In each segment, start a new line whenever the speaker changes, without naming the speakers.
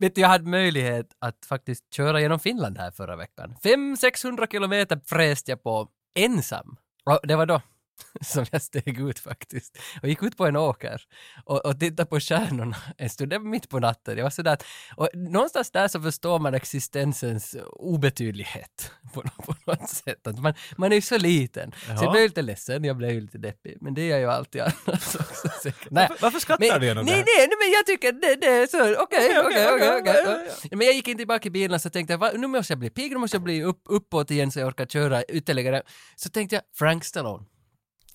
Vet du, jag hade möjlighet att faktiskt köra genom Finland här förra veckan. 500-600 kilometer fräste jag på ensam. Och det var då som jag steg ut faktiskt och gick ut på en åker och, och tittade på stjärnorna en stund. Det var mitt på natten. Jag var sådär att, och någonstans där så förstår man existensens obetydlighet på, nå- på något sätt. Att man, man är ju så liten. Så
Jaha.
jag blev lite ledsen, jag blev lite deppig. Men det är jag ju alltid annars också. säkert. Nej.
Varför, varför skrattar
Men,
du
nej,
genom
nej,
det här?
nej, men jag tycker det, det är så, okej,
Okej,
okej,
okej,
okej,
okej,
okej.
ja, ja,
Men jag gick in tillbaka i bilen så tänkte jag, "Va, nu måste jag bli pigg, nu måste jag bli upp, uppåt igen så jag orkar köra ytterligare. Så tänkte jag, Frank Stallone.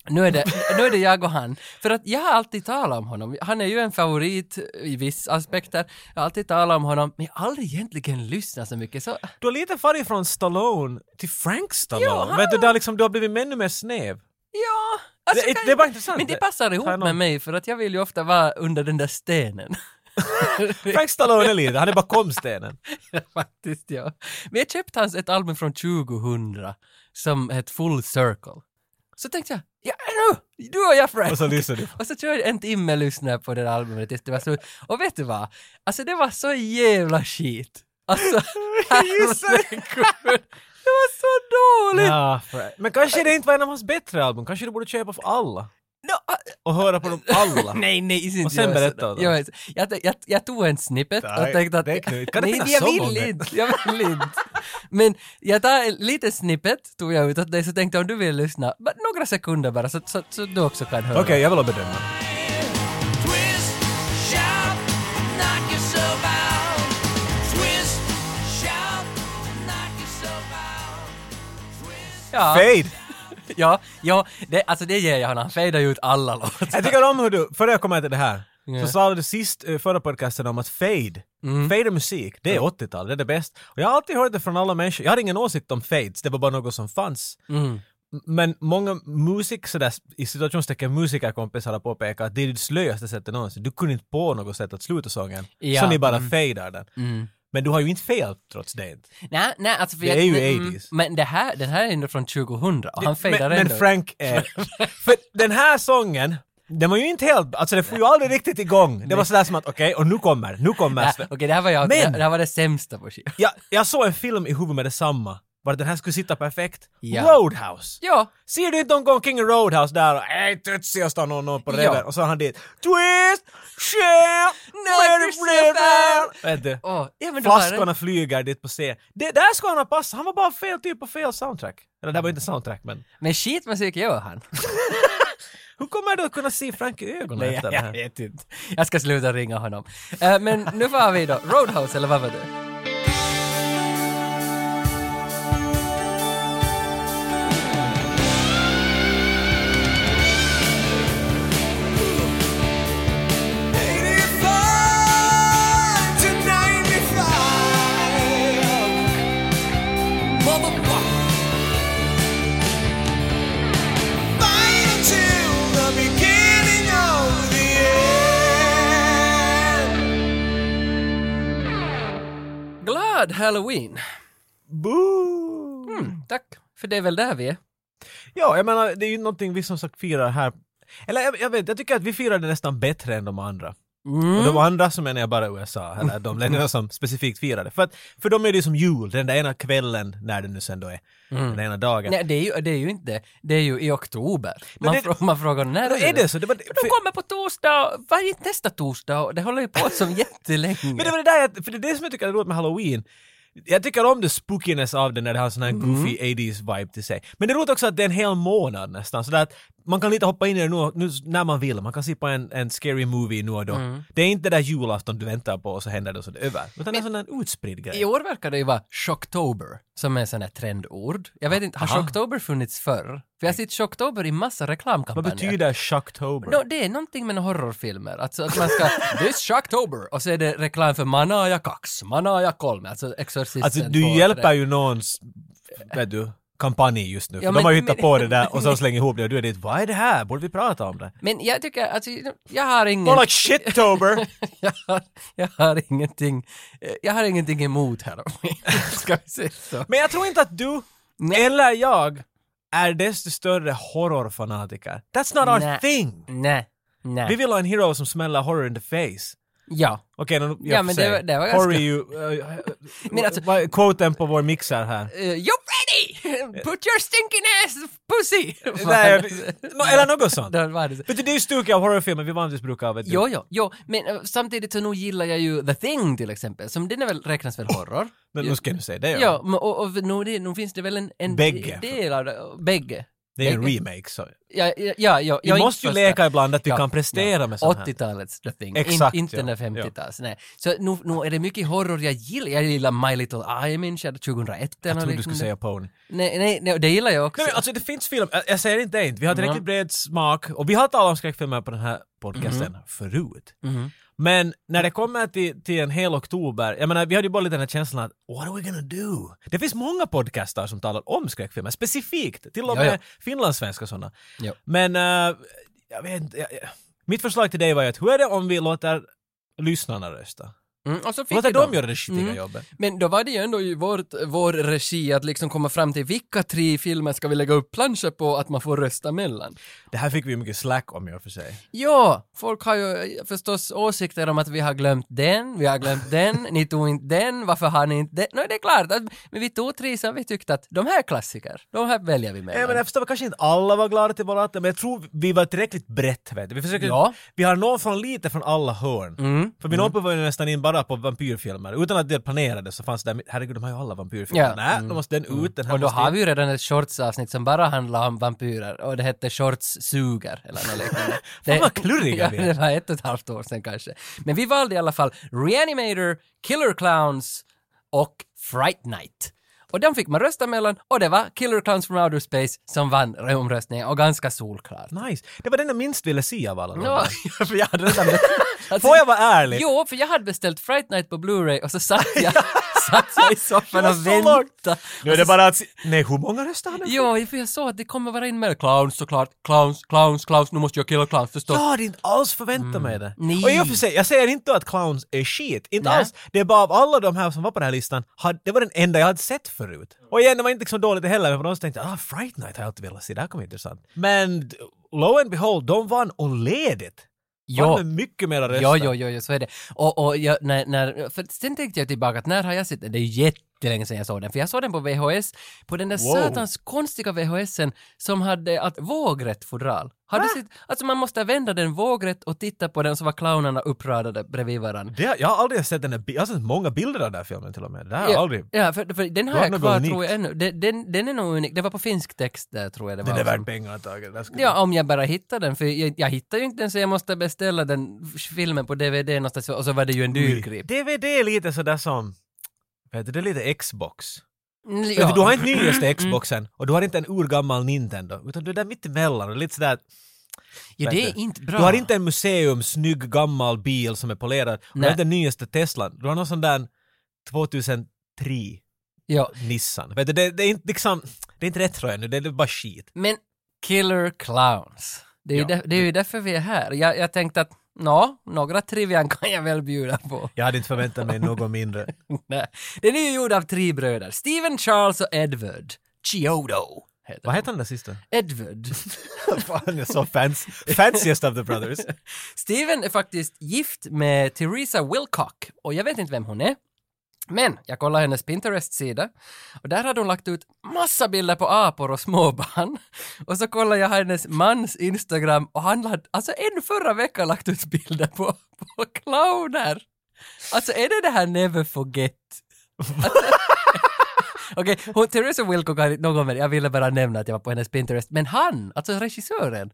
Nu är, det, nu är det jag och han. För att jag har alltid talat om honom. Han är ju en favorit i vissa aspekter. Jag har alltid talat om honom, men jag har aldrig egentligen lyssnat så mycket. Så
Du har lite farit från Stallone till Frank Stallone.
Ja, han-
Vet du, det har liksom, du har blivit ännu mer snäv.
Ja, alltså,
Det-
kan-
det är bara intressant.
Men det passar ihop
Tar jag någon-
med mig för att jag vill ju ofta vara under den där stenen.
Frank Stallone är lite, han är bakom stenen.
Faktiskt ja. Men jag köpte hans ett album från 2000 som hette Full Circle. Så tänkte jag, ja nu, du och jag Frank.
Och så lyssnar du.
Och så tror jag en timme lyssnade på det där albumet tills det var slut. Och vet du vad? Alltså det var så jävla skit. Alltså, herregud. Det var så dåligt!
Ja, Frank. Men kanske det inte var en av hans bättre album, kanske du borde köpa för alla.
Nå,
Och höra på dem alla.
Nej, nej, inte
Alltså. Och sen
jag.
berätta om det.
jag, jag, jag, jag tog en snippet och
Nej,
tänkte att...
det är knut. Kan det
nej,
finnas
jag
så
vill
många?
inte. Jag vill inte. Men jag tar en liten snippet, tog jag ut åt dig, så tänkte jag om du vill lyssna, bara några sekunder bara, så, så, så du också kan höra.
Okej, jag vill ha bedömning.
Twist, shout, knock yourself out. Twist, shout, knock yourself out. Twist.
Ja,
Fade!
ja, ja det, alltså det ger jag honom. Han fejdar ju ut alla låtar.
Jag tycker om hur du, före jag kom här till det här,
Ja. Mm.
så sa du sist, eh, förra podcasten om att fade, fade är musik, det är 80-tal, det är det bästa. Och jag har alltid hört det från alla människor, jag hade ingen åsikt om fades, det var bara något som fanns.
Mm.
M- Men många musik, sådär, i situationstecken musikerkompisar har påpekat att det är det slöaste sättet någonsin, du kunde inte på något sätt att sluta sången,
Ja,
så ni bara
mm.
fadar den.
Mm.
Men du har ju inte fel trots det. inte.
Nej, nej, alltså för
Det
jag,
är ju
mm,
80s.
Men det här, den här är ändå från 2000 och han fejdar
men,
ändå.
men Frank är... för den här sången, den var ju inte helt... Alltså det får ju aldrig riktigt igång. Det var sådär som att okej, och nu kommer, nu kommer
Nej,
Sven.
Okej, det här var jag,
Men-
det här var det sämsta på skivan.
Jag, jag såg en film i huvudet med detsamma. Var den här skulle sitta perfekt?
Ja.
Roadhouse!
Ja,
Ser du inte någon gång King Roadhouse där och ej tutsi och står någon, någon på
Ja.
reven och så har han dit twist, shell, let it
yourself
rip out. Vet du?
Åh, ja men du har rätt.
Flaskorna flyger dit på scen. Det där ska han ha passat, han var bara fel typ på fel soundtrack. Eller det var inte soundtrack men.
Men skitmusik gör han.
Hur kommer du att kunna se Frank i ögonen efter det här?
vet inte. Jag ska sluta ringa honom. Eh, men nu får vi då. Roadhouse, eller vad var det? Glad Halloween! Hmm,
Boo!
Tack, för det är väl där vi är.
Ja, jag menar det är ju någonting vi som sagt firar här. Eller jag, jag vet, jag tycker att vi firar det nästan bättre än de andra.
Mm.
Och de andra så menar jag bara USA, eller de länderna som specifikt firar det. För, att, för dem är det ju som jul, den där ena kvällen, när det nu sen då är, den ena dagen.
Mm. Nej, det är, ju, det är ju inte det. Det är ju i oktober.
Men
Man,
det-
frå, man frågar när
Då är det så? Det var,
De kommer på torsdag, varje nästa torsdag och det håller ju på som jättelänge.
Men det var det där jag, för det är det som jag tycker är roligt med halloween. Jag tycker om the spookiness av den när det har sån här
Mm.
goofy 80s vibe till sig. Men det är roligt också att det är en hel månad nästan, så att man kan lite hoppa in i det nu, nu när man vill. Man kan se på en, en scary movie nu och då.
Mm.
Det är inte det där julafton du väntar på och så händer det och så är det över. Utan det är en sån där utspridd grej.
I år verkar det ju vara shocktober, som är ett sånt här trendord. Jag vet inte, har
Aha.
shocktober funnits förr? För jag har sett shocktober i massa reklamkampanjer.
Vad betyder shocktober?
No, det är någonting med horrorfilmer. Alltså att man ska... This Shocktober! Och så är det reklam för Manaja kax, Manaja kolme, alltså Exorcisten
alltså du
två,
hjälper
tre.
ju någons, vet du, kampanj just nu.
Ja,
för
men-
de har ju hittat
men-
på det där och så slänger ihop det och du är dit, vad är det här? Borde vi prata om det?
Men jag tycker, alltså jag har ingen...
More like shittober!
Jag har, jag har ingenting... eh, Jag har ingenting emot Halloween. ska vi säga så.
Men jag tror inte att du,
Nej.
eller jag, är desto större horrorfanatiker. That's not our
Nej.
thing!
Nej. Nej.
Vi vill ha en hero som smäller horror in the face.
Ja.
Okej, okay,
Ja, men det var- det var
Hurry you... eh,
Men alltså-
vad är quoten på vår mixer här.
Eh, you're ready! Put your stinking ass pussy!
Nej, no, eller något sånt.
Det var det.
Vet du, det är ju stuket av horrorfilmer vi vanligtvis brukar vet du.
Jo, jo, jo, men eh, samtidigt så nog gillar jag ju The Thing till exempel, som den är väl, räknas väl horror?
Men nu ska du säga det.
Ja,
Ja.
men, och, och nu, det, nu finns det väl en, en
Bägge.
del av det, bägge.
Det är en remake. Så.
Ja, ja, ja, ja,
Vi
jag är
måste ju
inte
leka
första.
ibland att vi
Ja,
kan prestera med sånt här.
80-talets The Thing,
Exakt,
In, inte
ja.
den där 50-tals. Nej. Så nu, nu är det mycket horror jag gillar. Jag gillar My Little Eye, jag 2001 eller
Jag trodde du skulle
liknande.
säga Pony.
Nej, nej, nej, det gillar jag också. Mm.
Nej, men alltså det finns film, jag, jag säger inte det inte, vi har tillräckligt bred smak och vi har talat om skräckfilmer på den här podcasten
Mm-hmm.
förut.
Mhm.
Men när det kommer till, till en hel oktober, jag menar vi hade ju bara lite den här känslan att what are we gonna do? Det finns många podcaster som talar om skräckfilmer, specifikt, till och
Ja,
med
ja.
finlandssvenska sådana.
Ja.
Men eh, jag vet inte, jag, jag, mitt förslag till dig var ju att hur är det om vi låter lyssnarna rösta?
Mm, och så fick
Låter
jag
dem
dem.
göra det skitiga
Mm.
jobbet?
Men då var det ju ändå i vår, vår regi att liksom komma fram till vilka tre filmer ska vi lägga upp planscher på att man får rösta mellan.
Det här fick vi ju mycket slack om i och för sig.
Ja, folk har ju eh, förstås åsikter om att vi har glömt den, vi har glömt den, ni tog inte den, varför har ni inte den? Nej, det är klart, att, men vi tog tre som vi tyckte att de här är klassiker, de här väljer vi
Nej, men
mellan.
jag förstår kanske inte alla var glada till Valhalla, men jag tror vi var tillräckligt brett. Vet du. Vi, försöker,
Ja.
vi har någon från lite från alla hörn. För min mm. var ju nästan in bara på vampyrfilmer. Utan att det planerades så fanns det där, herregud de har ju alla vampyrfilmer.
Ja. Mm.
Nej, då måste den ut, den här
Och då
måste
har
in.
vi ju redan ett shortsavsnitt som bara handlar om vampyrer och det hette Shorts suger eller något liknande.
Fan, vad kluriga
ja,
vi är.
Det var ett och ett halvt år sedan kanske. Men vi valde i alla fall Reanimator, Killer Clowns och Fright Night. Och de fick man rösta mellan och det var Killer Clowns from Outer Space som vann omröstningen och ganska solklart.
Nice. Det var den jag minst ville se av alla. de
Ja,
där.
för jag hade redan... Alltså,
Får jag vara ärlig?
Jo, för jag hade beställt Fright Night på Blu-ray och så satt jag, satt jag i soffan
Det var
och
så långt.
väntade.
Nu är det bara att se- Nej, hur många röster har den?
Jo, för jag såg att det kommer vara in mer clowns såklart. Clowns, clowns, clowns. Nu måste jag killa clowns förstås.
Jag hade inte alls förväntat mig det.
Mm. Nej.
Och i och för sig, jag säger inte att clowns är shit, inte
Nej.
alls. Det är bara av alla de här som var på den här listan, hade- det var den enda jag hade sett förut. Och igen, det var inte liksom dåligt heller, men på något sätt tänkte jag ah, Fright Night har jag alltid velat se, det här kommer bli intressant. Men d- lo and behold, de vann och ledigt.
Ja.
Vann med mycket mera röster.
Ja, ja, ja, ja, så är det. Och, och jag, när, när, för sen tänkte jag tillbaka att när har jag sett den? Det är jättelänge sedan jag såg den, för jag såg den på VHS, på den där
Wow.
satans konstiga VHSen som hade att vågrätt fodral. Har du sett? Alltså man måste vända den vågrätt och titta på den så var clownerna uppradade bredvid varandra.
Det, jag har aldrig sett den där, bi- jag har sett många bilder av den här filmen till och med. Det har jag aldrig.
Ja, för, för den
Det
har
var
jag
något
kvar
unikt.
tror jag ännu. Den, den, den är nog unik. Det var på finsk text där tror jag det var.
Den är
också.
värd pengar antagligen. Det här skulle-
Ja, om jag bara hittar den, för jag, jag hittar ju inte den så jag måste beställa den filmen på DVD någonstans och så var det ju en dyrgrip.
DVD är lite sådär som, vet du, det är lite Xbox.
Mm,
Vet
ja. Mm.
Du, du har inte nyaste Xboxen och du har inte en urgammal Nintendo, utan du är där mittemellan och lite sådär...
ja, det är inte bra.
Du har inte en museum, snygg gammal bil som är polerad, och du har
Nej.
inte den nyaste Teslan, du har någon sån där 2003
Ja.
Nissan. Vet du, det, det är inte liksom... Det är inte retro ännu, det är bara skit.
Men Killer Clowns. Det är,
Ja.
ju där, det är ju därför vi är här. Jag, jag tänkte att, nå, några trivian kan jag väl bjuda på.
Jag hade inte förväntat mig något mindre.
Nej. Den är ju gjord av tre bröder, Steven, Charles och Edward. Chiodo heter
Vad
han.
heter den där sista?
Edward.
Fan, jag är så fancy. Fanciest of the brothers.
Steven är faktiskt gift med Theresa Wilcock och jag vet inte vem hon är. Men jag kollade hennes Pinterest-sida och där hade hon lagt ut massa bilder på apor och småbarn. Och så kollade jag hennes mans Instagram och han hade alltså en förra veckan lagt ut bilder på, på clowner. Alltså är det det här never forget? Alltså, Okej, hon Theresa Wilcock har inte någon med jag ville bara nämna att jag var på hennes Pinterest, men han, alltså regissören,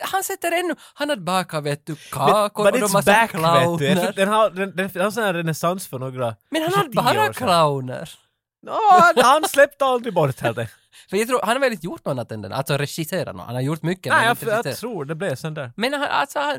han sätter ännu, han hade bakat vet du kakor
But
och de
it's
massa
back, vet du. Jag
clowner.
tror- Den har, den, den, den har sån här renässans för några...
Men han
kanske
hade
tio
bara
år sedan.
clowner.
Nå, han- han släppte aldrig bort heller.
För jag tror, han har väl inte gjort något annat än den, alltså regisserat något. Han har gjort mycket.
Nej,
men
jag,
inte
jag
regisserat.
tror det blev sån där.
Men han, alltså han,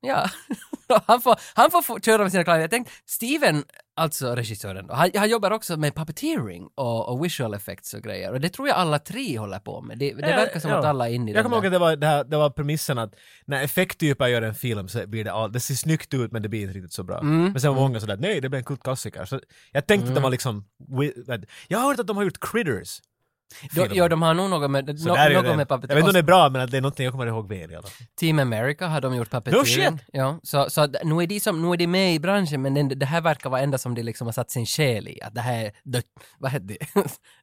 ja. han får, han får få- köra med sina klaver. Jag tänkte, Steven, alltså regissören, då, han, han jobbar också med puppeteering och, och visual effects och grejer. Och det tror jag alla tre håller på med. Det, det
Ja,
verkar som
ja.
att alla är inne i
Jag
den
kommer ihåg
där.
att det var, det, här, det var premissen att när effekttyper gör en film så blir det all, det ser snyggt ut men det blir inte riktigt så bra.
Mm.
Men sen var många sådär, nej det blir en kultklassiker. Så jag tänkte att det var liksom, wi- att- jag har hört att de har gjort Critters.
Då,
Film.
ja, de har nog något med,
Så
no,
där är ju
något
den.
med
Jag vet inte om det
pappeterie.
är bra, men att det är någonting jag kommer ihåg väl i alla fall.
Team America har de gjort
No
pappeterien. ja, så, så att nu är de som, nu är de med i branschen, men den, det här verkar vara enda som de liksom har satt sin själ i. Att det här är, the, vad heter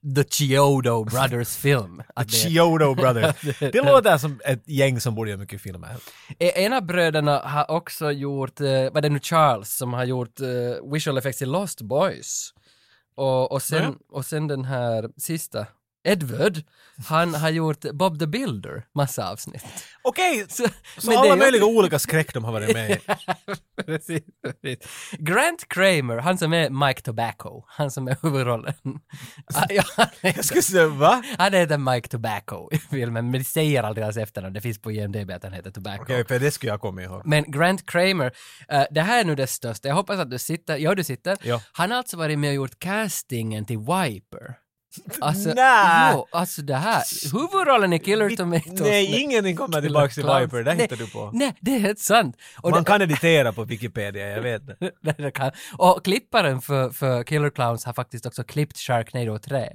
det? the Chiodo Brothers film. Att det,
Chiodo Brothers. Det låter som ett gäng som borde göra mycket filmer.
E- En av bröderna har också gjort, eh, vad är det nu, Charles som har gjort eh, visual effects i Lost Boys. Och, och, sen,
Nåja.
och sen den här sista, Edward, han har gjort Bob the Builder, massa avsnitt.
Okej,
Så,
så
men det
alla
är ju-
möjliga olika skräck de har varit med i.
Precis, precis. Grant Kramer, han som är Mike Tobacco, han som är huvudrollen. Ah, ja, han
Alltså, Jag
heter-
skulle säga va?
han heter Mike Tobacco i filmen, men de säger aldrig hans efternamn, det finns på IMDB att han heter Tobacco.
Okej, för det skulle jag komma ihåg.
Men Grant Kramer, eh, det här är nu det största. Jag hoppas att du sitter. Ja, du sitter.
Ja.
Han har alltså varit med och gjort castingen till Wiper. Alltså,
Nä.
jo, alltså det här. Huvudrollen i Killer Tomatoes.
Nej, ingenting kommer tillbaka till
Clowns.
Viper, det
Nej,
hittar du på.
Nej, det är helt sant. Och,
Man
det,
kan editera på Wikipedia, jag vet det.
Nej, det kan. och klipparen för, för Killer Clowns har faktiskt också klippt Sharknado 3.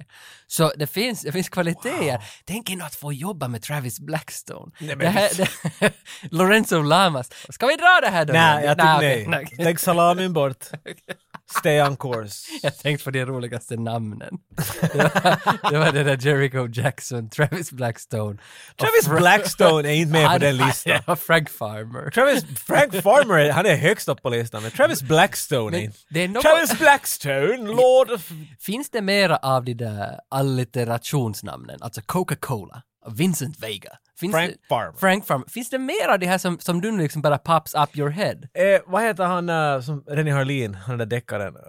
Så det finns, det finns kvaliteter. Tänk er att få jobba med Travis Blackstone.
men-
det här, det, Lorenzo Lamas. Ska vi dra det här då?
Nej, jag
Nej,
tycker
okej,
nej. Lägg salamin bort. Stay on course.
Jag tänkte på de roligaste namnen. Det var, det var det där Jericho Jackson, Travis Blackstone. och
Travis
Fra-
Blackstone är inte med på
Han-
den listan.
Ja, Frank Farmer.
Travis, Frank Farmer, han är högst upp på listan, men Travis Blackstone är
Men
inte.
det är något,
Travis Blackstone, Lord of...
Finns det mera av de där alliterationsnamnen, alltså Coca-Cola, Vincent Vega? Finns
Frank
det,
Farmer.
Frank Farmer. Finns det mer av det här som, som du nu liksom bara pops up your head?
Eh, vad heter han eh, som Rennie Harlin, han den där deckaren? Uh,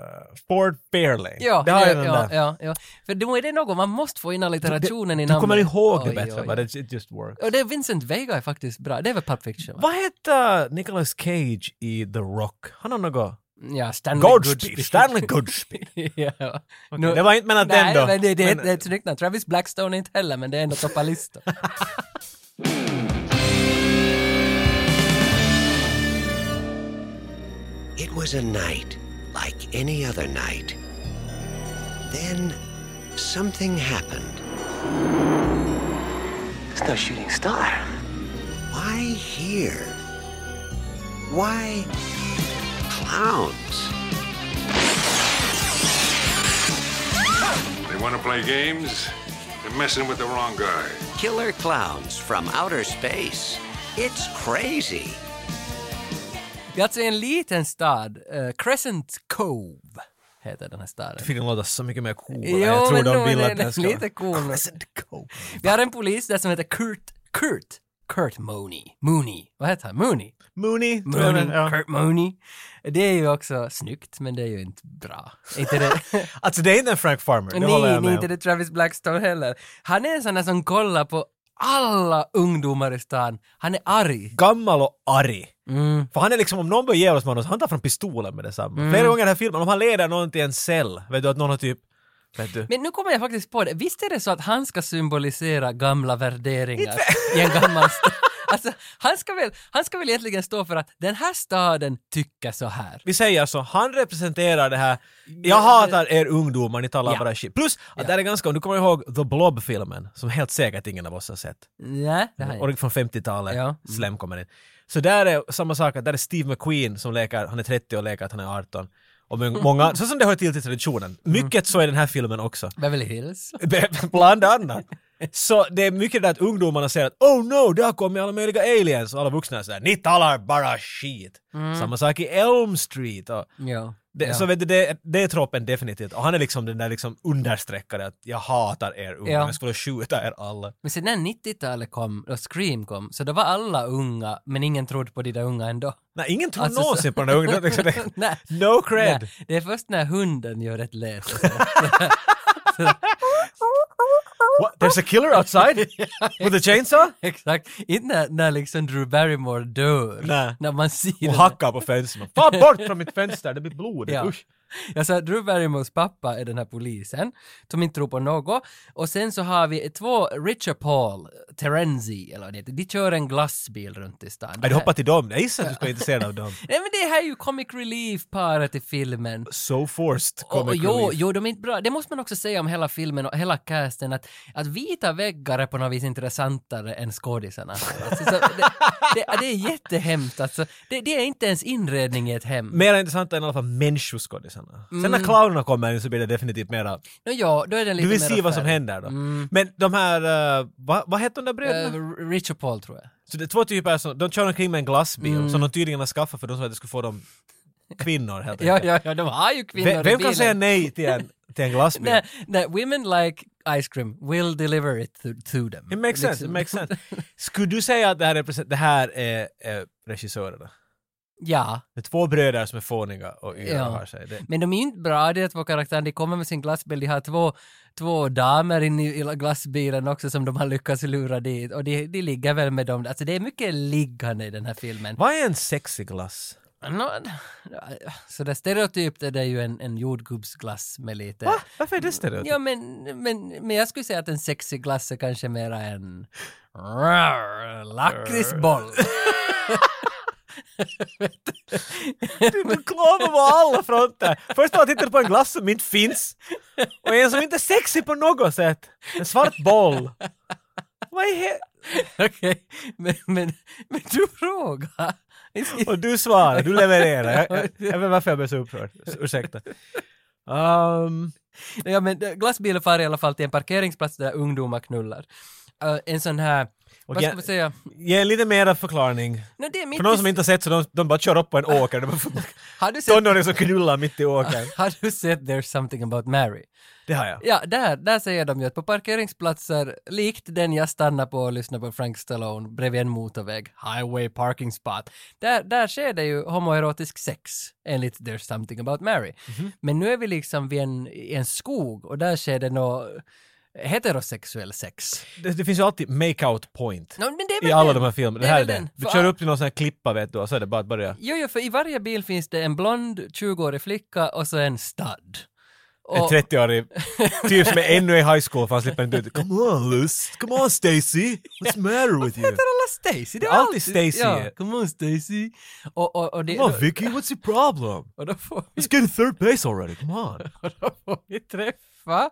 Ford Fairlane.
Ja,
det har
ja,
jag den
ja,
där.
ja, ja. För då är det något, man måste få in alliterationen i
Du
namnet.
kommer ihåg det
Oj,
bättre,
oj.
but it, it just works.
Och det är Vincent Vega är faktiskt bra, det är väl Pulp Fiction? Va?
Vad heter Nicolas Cage i The Rock? Han har något...
Ja, Stanley
Godspeed! Stanley Godspeed!
ja.
Okej, det var inte menat den
Nej,
då.
men det, det, är-
Men-
det är ett snyggt namn. Travis Blackstone är inte heller, men det är ändå toppalistor.
It was a night like any other night. Then something happened.
It's no shooting star.
Why here? Why clowns?
They want to play games? They're messing with the wrong guy.
Killer clowns from outer space. It's crazy.
det är alltså en liten stad, eh, Crescent Cove heter den här staden.
Fick den låta så mycket mer cool.
Jo,
jag tror
men
de
nog,
vill
den
att den
är
ska...
lite cool.
Crescent Cove.
Vi har en polis där som heter Kurt, Kurt, Kurt Mooney, Mooney, vad heter han? Mooney?
Mooney. tror jag
Mooney,
den- ja.
Kurt Mooney. Det är ju också snyggt, men det är ju inte bra. Inte det,
Alltså det är inte en Frank Farmer, det håller
nej,
jag
nej,
med
inte
om.
det Travis Blackstone heller. Han är en sån där som kollar på alla ungdomar i stan. Han är arg.
Gammal och arg.
Mm.
För han är liksom, om någon börjar ge oss manus, han tar fram pistolen med detsamma. Flera gånger i den här filmen, om han leder någon till en cell, vet du att någon har typ, vet du,
Men nu kommer jag faktiskt på det. Visst är det så att han ska symbolisera gamla värderingar i en gammal stad? Alltså, han ska, väl, han ska väl egentligen stå för att den här staden tycker så här.
vi säger så, han representerar det här, jag hatar er ungdomar, ni talar
Ja.
bara shit. Plus, att det här är ganska, om du kommer ihåg The Blob-filmen, som helt säkert ingen av oss har sett.
Nej, det här är
Och från 50-talet,
Ja.
Slem kommer in. Så där är samma sak, att där är Steve McQueen som leker, han är 30 och leker att han är 18. Och men-
Mm.
många, så som det hör till till traditionen. Mycket så är den här filmen också.
Beverly Hills.
Bland annat. Så det är mycket det där att ungdomarna säger att oh no, där kommer alla möjliga aliens och alla vuxna säger ni talar bara skit. Samma sak i Elm Street. Och
Ja.
det,
Mm. ja.
Så vet du, det, det är troppen definitivt. Och han är liksom den där liksom understreckade att jag hatar er ungdomar,
Ja.
jag skulle skjuta er alla.
Men sen när 90-talet kom och Scream kom, så då var alla unga, men ingen trodde på de där unga ändå.
Nej, ingen tror
Alltså, så-
någonsin på den där ungdomen. Liksom, det-
Nej.
no cred.
Nej, det är först när hunden gör ett läs.
What? There's a killer outside? With a chainsaw?
Exakt. Inte när, när liksom Drew Barrymore dör.
Nej.
När man ser
Och
den.
hackar på fönstret. Fan bort från mitt fönster, det blir blod.
Ja.
Usch.
Jag sa Drew Barrymores pappa är den här polisen som inte tror på något. Och sen så har vi två Richard Paul Terenzi, eller vad det heter. De kör en glassbil runt i stan.
Nej, du hoppar till dem. Jag gissar att du ska vara intresserad av dem.
Nej men det här är ju comic relief-paret i filmen.
So forced
Och, och
comic
jo,
relief.
jo, de är inte bra. Det måste man också säga om hela filmen och hela casten att, att vita väggar är på något vis intressantare än skådisarna. Alltså, så det, det, det är jättehemskt alltså. Det, det är inte ens inredning i ett hem.
Mer intressant än i alla fall människoskådisarna. Sen
Mm.
när clownerna kommer in så blir det definitivt mera...
Nå, ja, då är den lite
Du vill
mer
se vad som
affär. Mm.
händer då. Men de här... eh, vad, vad hette de där bröderna?
Eh, Richard Paul tror jag.
Så det är två typer som... De kör omkring med en glassbil
Mm.
som de tydligen har skaffat för de som att det skulle få dem kvinnor helt
Ja,
enkelt.
ja, ja, de har ju kvinnor
Vem,
i
vem
bilen.
kan säga nej till en, till en glassbil?
Nej, nej, women like ice cream will deliver it to, to them.
It makes sense, it
Liksom.
makes sense. Skulle du säga att det här, represent- det här är, är regissörerna?
Ja,
Det är två bröder som är fåniga och yra
Ja.
och har sig. Det,
men de är ju inte bra de här två karaktärerna. De kommer med sin glassbil, de har två, två damer inne i i glassbilen också som de har lyckats lura dit. Och de, de ligger väl med dem. Alltså det är mycket liggande i den här filmen.
vad är en sexig glass?
Nå, så det stereotypt är det ju en, en jordgubbsglass med lite...
Va? Varför är det stereotyp?
Ja, men, men, men jag skulle säga att en sexig glass är kanske mera en Rar, lakritsboll.
Du klagar på alla fronter. Först av allt tittar du på en glass som inte finns och en som inte är sexig på något sätt. En svart boll. Vad är he-
Okej, men, men, men du frågar.
och du svarar, du levererar. Jag, jag, jag vet inte varför jag blev så upprörd. Ursäkta. Um,
Ja, men glassbilen far i alla fall till en parkeringsplats där ungdomar knullar. Eh, en sån här, vad
jag-
ska man säga?
ge en lite mera förklaring.
No, det är mitt
För någon
i,
som inte har sett så de, de bara kör upp på en åker. De bara,
har, du sett,
tonåring som knullar mitt i åkern.
har du sett There's something about Mary?
Det har jag.
Ja, där, där säger de ju att på parkeringsplatser, likt den jag stannar på och lyssnar på Frank Stallone bredvid en motorväg, highway parking spot, där, där sker det ju homoerotisk sex enligt There's something about Mary.
Mhm.
Men nu är vi liksom vid en, i en skog och där sker det nå heterosexuell sex.
Det, det finns ju alltid make-out point.
Nå, men det är väl
I alla
den.
de här filmerna. Det
är
här är
väl
den. Du
För
kör
all-
upp till någon sån här klippa vet du och så är det bara att börja.
Jo, jo, för i varje bil finns det en blond 20-årig flicka och så en stud.
En
Och-
30-årig typ som är ännu i high school för han slipper inte ut. Come on Luz, come on Stacy, what's the matter with you?
Heter alla Stacy? Det är
Alltid Stacy.
Ja, come on Stacy. Och, och, och, det,
Come on Vicky, what's your problem?
och då får vi
Let's get to third base already, come on.
Och då får vi träffa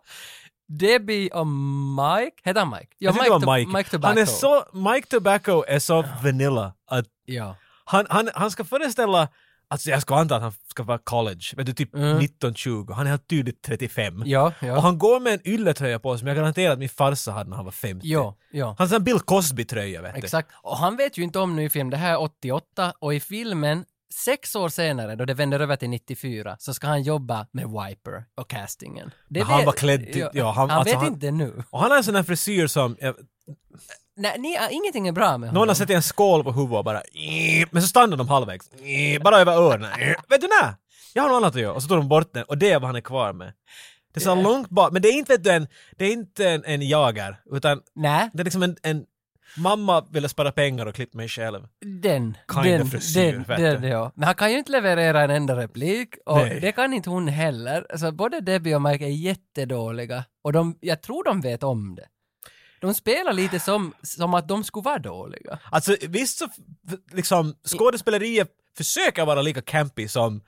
Debbie och Mike. Heter han Mike? Ja,
Jag tycker det
To-
var
Mike Tobacco.
Han är så, Mike Tobacco är så vanilla att
Ja.
han, han, han ska föreställa Alltså jag ska anta att han ska vara college, vet du typ 19-20, han är helt tydligt 35.
Mm. Ja, ja.
Och han går med en ylletröja på sig som jag garanterar att min farsa hade när han var 50.
ja, ja.
Han har en Bill Cosby-tröja vet du.
Exakt. Och han vet ju inte om nu i film, det här är 88 och i filmen sex år senare, då det vänder över till 94, så ska han jobba med Wiper och castingen. Det
Men han
vet-
var klädd till- ja, han-
han
alltså
vet
han-
inte nu.
Och han har en sån här frisyr som, eh,
Nej, ni, ingenting är bra med honom.
någon har sett en skål på huvudet och bara men så stannar de halvvägs, bara över öronen. Vet du när? Jag har något annat att göra. Och så tar de bort den och det är vad han är kvar med. Det är så långt bak, men det är inte, vet du, en, det är inte en, en jagar, utan
Nej,
det är liksom en, en mamma ville spara pengar och klippa mig själv.
den.
Kind
den,
of frisyr,
den,
vet
den,
du.
ja. Men han kan ju inte leverera en enda replik och
Nej.
det kan inte hon heller. Alltså både Debbie och Mike är jättedåliga och de, jag tror de vet om det. De spelar lite som, som att de skulle vara dåliga.
Alltså visst så, f- liksom skådespeleriet försöker vara lika campy som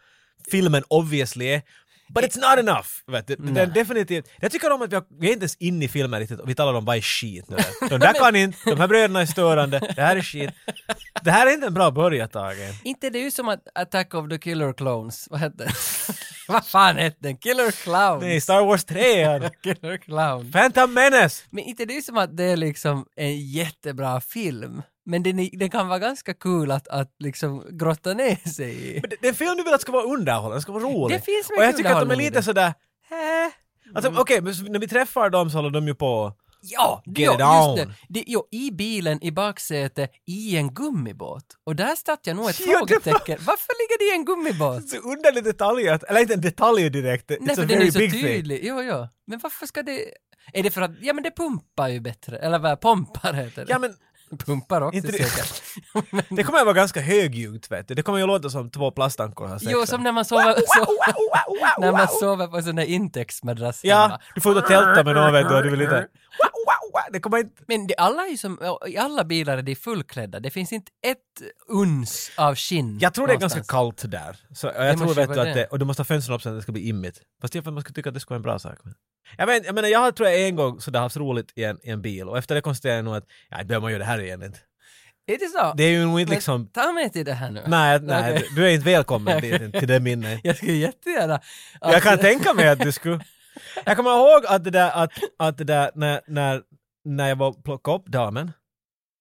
filmen obviously är. But it's not enough! Vet du? Det är definitivt, jag tycker om att vi, har, vi är inte ens inne i filmen riktigt och vi talar om vad är skit nu. De där kan inte, de här bröderna är störande, det här är skit. Det här är inte en bra början Tage.
Inte det är ju som att Attack of the Killer Clones, vad hette den? vad fan hette den? Killer Clown?
Nej, Star Wars 3!
Killer Clown.
Phantom Menace!
Men inte det är som att det är liksom en jättebra film. Men den, är- den kan vara ganska kul att, att liksom grotta ner sig i.
Men det, det är en film du vill att ska vara underhållande, ska vara rolig.
Det finns mycket
Och jag tycker att de är
underhållning i
lite
det. Mm.
sådär, eh. Alltså okej, men så när vi träffar dem så håller de ju på
Ja,
Get it
ja,
on.
just det. det jo, I bilen, i baksätet, i en gummibåt. Och där satte jag nog ett
Ja, det var-
frågetecken. Varför ligger det i en gummibåt?
så underlig detalj, att- eller inte en detalj direkt, it's
Nej,
a
för den är
very
ju så
big thing.
tydlig. Jo, jo. Men varför ska det... Är det för att... Ja, men det pumpar ju bättre. Eller vad? Pompar heter det.
Ja men,
Pumpar också
Inte det-
säkert.
Det kommer att vara ganska högljutt vet du. Det kommer ju låta som två plastankor har sex.
Jo, som när man sover, so, när man sover på sån där intäktsmadrass
Ja,
hemma.
du får ut och tälta med någon vet du och du vill inte... Wow, wow, wow. Det kommer inte...
Men det, alla är ju som, i alla bilar är de fullklädda. Det finns inte ett uns av skinn.
Jag tror det är ganska
någonstans.
kallt där. Så jag tror
måste
vet du
vara
att
det.
det, och du måste ha fönstren upp så att det ska bli immigt. Fast jag, man skulle tycka att det skulle vara en bra sak. Men. Jag, men, jag menar, jag har, tror jag en gång sådär haft roligt i en, i en bil och efter det konstaterade jag nog att, ja, behöver man göra det här igen inte.
Är det så?
Det är ju nog inte
Men
liksom,
Ta mig till det här nu.
nej, nej,
Okej.
du är inte välkommen till, till det minnet.
Jag skulle jättegärna...
Jag kan tänka mig att du skulle. Jag kommer ihåg att det där, att, att det där när, när, när jag var plockade upp damen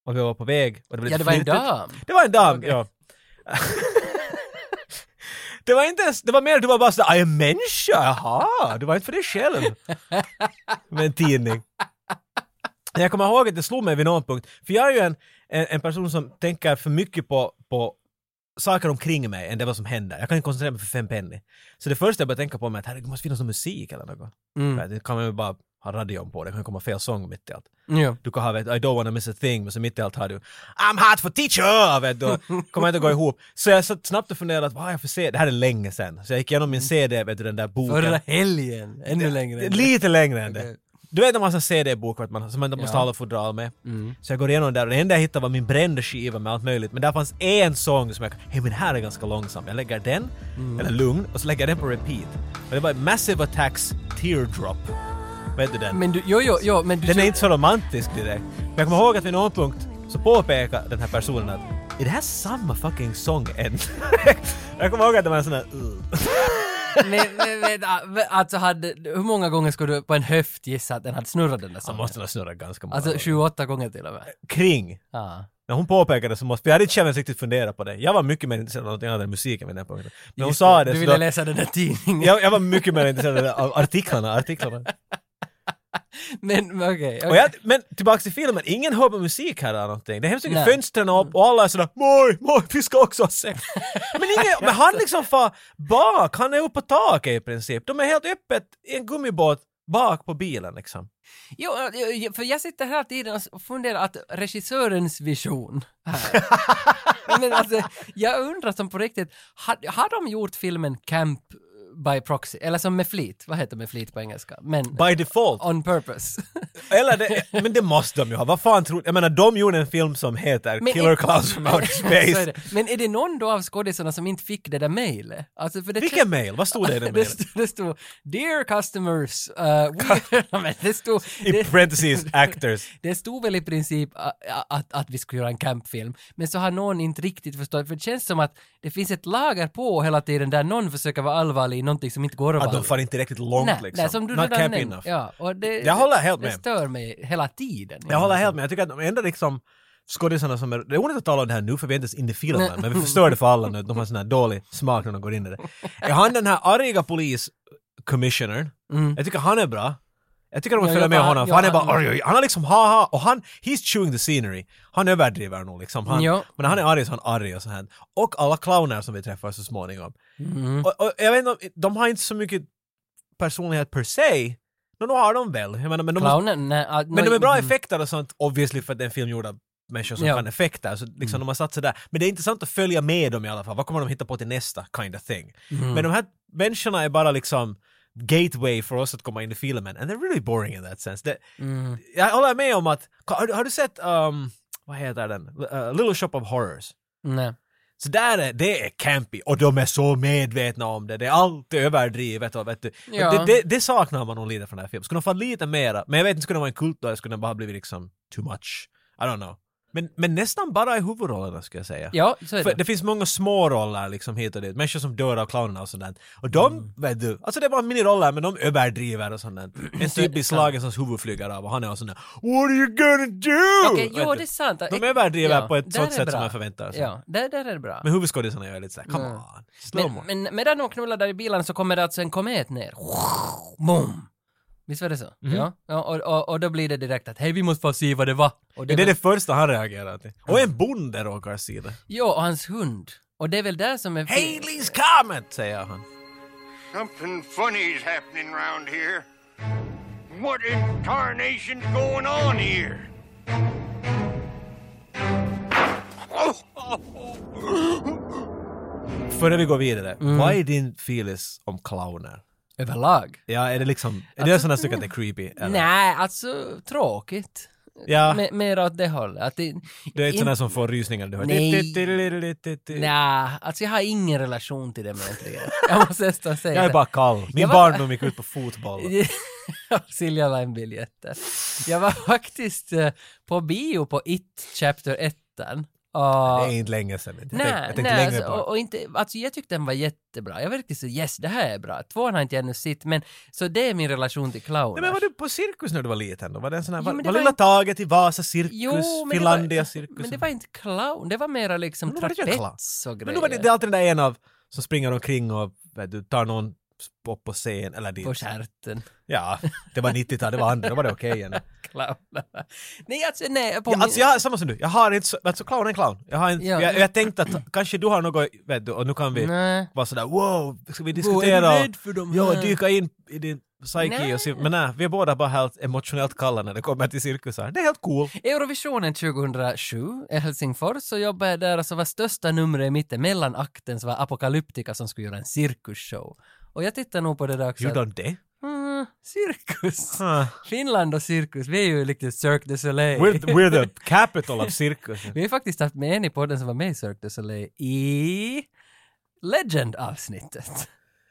och vi var på väg och det blev
Ja, det
lite
var en
flytigt.
dam.
Det var en dam, ja. det var inte ens, det var mer du var bara sådär, jag är människa, jaha, det var inte för dig själv. Med en tidning. Men Jag kommer ihåg att det slog mig vid någon punkt, för jag är ju en, en, en person som tänker för mycket på, på saker omkring mig än det vad som händer. Jag kan inte koncentrera mig för fem penny. Så det första jag började tänka på var att herregud, det måste finnas någon musik eller något.
Mm.
Det kan man ju bara ha radion på, det kan komma fel sång mitt i allt.
Ja.
Du kan ha vet, I don't wanna miss a thing, men så mitt i allt har du I'm hot for teacher! Vet du. Kommer inte att gå ihop. Så jag satt snabbt och funderade, vad har jag för CD? Det här är länge sedan. Så jag gick igenom min CD, vet du, den där boken.
Förra helgen. Ännu längre.
Lite längre än det.
Okej.
Du vet en massa CD-bok vet man, som man måste
Ja. Mm.
ha alla fodral med. Så jag går igenom där och det enda jag hittade var min brända skiva med allt möjligt. Men där fanns en sång som jag hej men den här är ganska långsam. Jag lägger den,
Mm.
eller lugn, och så lägger jag den på repeat. Och det var Massive Attacks Teardrop. Vet du den?
Men du, jo, jo, jo, men du...
Den är inte så romantisk direkt. Men jag kommer ihåg att vid någon punkt så påpekade den här personen att är det här samma fucking sång än? jag kommer ihåg att det var en sån där... "Ugh."
men, men, men, ah, men, alltså hade, hur många gånger skulle du på en höft gissa att den hade snurrat den där
Han
sången?
måste nog snurra ganska många
Alltså
gånger.
28 gånger till och med.
Kring.
Ja.
När hon påpekade så måste... För jag hade inte själv ens riktigt funderat på det. Jag var mycket mer intresserad av någonting annat än musiken vid den här punkten. Men hon
Just
sa det,
Du
så
ville
då,
läsa den där tidningen.
jag, jag var mycket mer intresserad av artiklarna. artiklarna.
Men men okej.
Och
okej.
jag, men tillbaka till filmen, ingen hör på musik här eller någonting. Det är hemskt mycket
Nej.
fönstren upp och alla är sådär moj, moj, vi ska också ha sex. men, ingen, men han liksom far bak, han är uppe på taket i princip. De är helt öppet i en gummibåt bak på bilen liksom.
Jo, eh, för jag sitter hela tiden och funderar att regissörens vision här. Men alltså, jag undrar som på riktigt, har, har de gjort filmen Camp by proxy? Eller som med flit, vad heter med flit på engelska? Men
By default.
on purpose.
Eller det, men det måste de ju ha, vad fan tror Jag menar de gjorde en film som heter
Men-
Killer Clowns from Outer
Så är
Space.
det. Men är det någon då av skådisarna som inte fick det där mejlet? Alltså, för det
Vilken mail? Vad stod det i den
det,
mailen?
stod, det stod “Dear customers”, uh, we... Men det stod...
I
det-
parentheses, actors.
Det stod väl i princip a- a- att, att vi skulle göra en campfilm, men så har någon inte riktigt förstått, för det känns som att det finns ett lager på hela tiden där någon försöker vara allvarlig i någonting som inte går att vara
Att de far
allvarlig.
inte riktigt långt
Nej,
liksom.
nej, som du
Not
redan
camp
nämnt.
enough.
Ja, och det,
Jag håller helt
det
med.
stör mig hela tiden.
Jag håller helt med. Jag tycker att de enda liksom skådisarna som är... Det är onödigt att tala om det här nu för vi är inte ens inne i filmen men vi förstör det för alla nu. De har sån här dålig smak när de går in i det. Är han den här arga polis-commissionern?
Mm.
Jag tycker han är bra. Jag tycker de måste
Ja,
följa
jag
med
bara-
honom för han är
ja,
bara
han-
arg. arg. Han är liksom haha och han, he's chewing the scenery. Han överdriver nog liksom. Han,
Ja.
Men när han är arg så är han arg och så här. Och alla clowner som vi träffar så småningom.
Mm.
Och, och jag vet inte, om- de har inte så mycket personlighet per se. Men då har de väl. Jag menar, men de måste-
Clownen? Nej, ah,
men de
no,
är bra
mm.
effekter och sånt, obviously för att det är en film gjord av människor som
Ja. Mm.
kan effekter, så liksom de har satt sig där. Men det är intressant att följa med dem i alla fall, vad kommer de hitta på till nästa kind of thing?
Mm.
Men de här människorna är bara liksom gateway för oss att komma in i filmen, and they're really boring in that sense. Det,
Mm.
jag håller med om att, har, du- har du sett, um, vad heter den, uh, Little Shop of Horrors?
Nej.
Så där är, det är campy och de är så medvetna om det. Det är alltid överdrivet och vet du. Men
Ja.
Det, det, det saknar man nog lite från den här filmen. Skulle de fått lite mera, men jag vet inte, skulle det vara en kult då? eller Skulle det bara blivit liksom too much? I don't know. Men, men nästan bara i huvudrollerna skulle jag säga.
Ja, så är
För
det.
det finns många små roller liksom hit och dit, människor som dör av clownerna och sådant. Och de,
Mm.
vet du, alltså det var miniroller men de överdriver och sådant. En
Så är
typ
det
blir slagen som huvud flyger av och han är och sån där “What are you gonna do?”
Okej,
Vet
jo
du.
det är sant.
De överdriver
Ja,
på ett
där
sånt
är
sätt
bra.
som man förväntar sig.
Ja, där, där är det bra.
Men huvudskådisarna gör lite såhär, come
Mm.
on, slow mo.
Men, men medan de knullar där i bilen så kommer det alltså en komet ner. Boom! Visst var det så?
Mhm.
Ja. ja och, och, och då blir det direkt att hej vi måste få se vad det var. Och
det är det första han reagerar till. Och en bonde råkar se det.
Jo, och hans hund. Och det är väl där som är...
Haley's Comet, säger han.
Something funny's happening round here. What in tarnation's going on here?
Före vi går vidare, vad är din feelis om clowner?
Överlag?
Ja, är det liksom, är det sådana stycken att det är creepy? eller?
Nej, alltså tråkigt.
Ja.
Me- mer åt det hållet. Att det,
Du är inte
in-
sån där som får rysningar när du hör typ-
Nej.
Nej.
Nej, alltså jag har ingen relation till dem egentligen. Jag måste nästan säga
Jag är
det.
bara kall. Min
Jag var-
barndom gick ut på fotboll.
Silja Line-biljetter. Jag var faktiskt eh, på bio på It Chapter 1.
Det
Och...
är inte länge sedan. Jag tänkte, jag
Nej,
tänkte
nej
längre
alltså,
på.
och, och inte, alltså jag tyckte den var jättebra. Jag var riktigt så yes, det här är bra. Tvåan har inte jag ännu sett, men så det är min relation till clowner.
Nej, men var du på cirkus när du var liten då? Var det en sån här,
Jo,
var,
men det
var
var
Lilla
inte-
Taget i Vasa cirkus,
Jo, men det
Finlandia
var-
cirkus?
Men det var inte clown, det var mera liksom
Men det var ju en clown.
trapets och grejer.
Men då var det, det är alltid den där en av som springer omkring och vet du tar någon upp på scen eller dit.
På stjärten.
Ja, det var 90-tal, det var andra, då var det okej igen.
Clownerna. Nej, alltså nej. På
Ja,
min-
alltså jag, samma som du, jag har inte, så- alltså clown är en clown. Jag, har inte,
Ja.
jag, jag tänkte att kanske du har något, vet du, och nu kan vi
Nej.
vara sådär wow, ska vi
Wow, är
diskutera
du
och
rädd för de
ja,
här?
dyka in i din psyke
Nej.
och se, men nej, vi är båda bara helt emotionellt kalla när det kommer till cirkusar. Det är helt cool.
Eurovisionen 2007 i Helsingfors så jobbade jag där och så var största numret i mitten, mellan akten, så var Apocalyptica som skulle göra en cirkusshow. Och jag tittar nog på det där också.
Gjorde de det?
Mm, cirkus.
Huh.
Finland och cirkus, vi är ju riktigt Cirque du Soleil.
We're, we're the capital of cirkus.
Vi har ju faktiskt haft med en i podden som var med i Cirque du Soleil i Legend-avsnittet.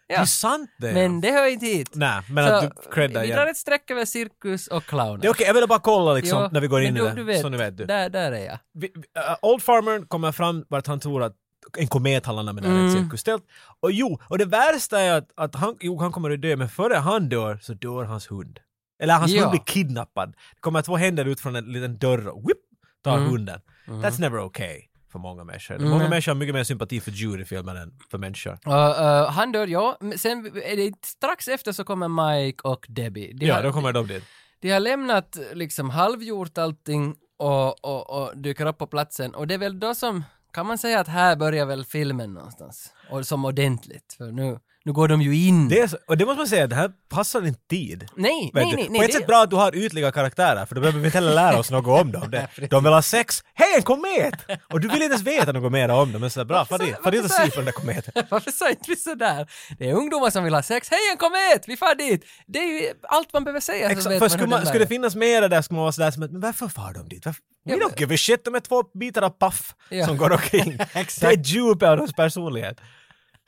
Det är sant det!
Men det hör inte hit.
Nej, men
Så,
att du creddar
Vi
igen.
drar ett streck över cirkus och clowner.
Det är okej, jag ville bara kolla liksom
Jo,
när vi går
men
in
du-
i
du
det.
vet,
Så nu vet du.
Där, där är jag.
Vi, vi, äh, old Farmer kommer fram vart han tror att en komet har landat med mm. ett cirkustält. Och jo, och det värsta är att, att han, jo, han kommer att dö, men före han dör så dör hans hund. Eller hans
Ja.
hund blir kidnappad. Det kommer två händer ut från en liten dörr och whip, tar hunden. That's never okay för många människor. Många människor har mycket mer sympati för djur i filmen än för människor.
Och, eh, han dör, ja. Men Sen är det strax efter så kommer Mike och Debbie. De,
Ja,
har,
då kommer de dit.
de har lämnat liksom halvgjort allting och, och, och dyker upp på platsen. Och det är väl då som, kan man säga att här börjar väl filmen någonstans? Och som ordentligt, för nu, nu går de ju in.
Det är så, och det måste man säga, det här passar din tid.
Nej,
Vet
nej,
du,
nej,
på
nej.
ett sätt bra att du har ytliga karaktärer, för då behöver vi inte heller lära oss något om dem. De, de vill ha sex, hej en komet! Och du vill inte ens veta något mer om dem, men sådär bra, far dit, far dit och se på den där kometen.
Varför sa inte vi sådär? Det är ungdomar som vill ha sex. Hej, en komet! Vi far dit! Det är ju allt man behöver säga. så
Exakt,
Alltså, vet
för
man
skulle,
hur
man,
den
skulle det
där
finnas mera där skulle man vara sådär som att, men varför far de dit? Varför? We
Ja,
don't give a shit, de är två bitar av paff
Ja.
som går omkring. det är djupet av deras personlighet.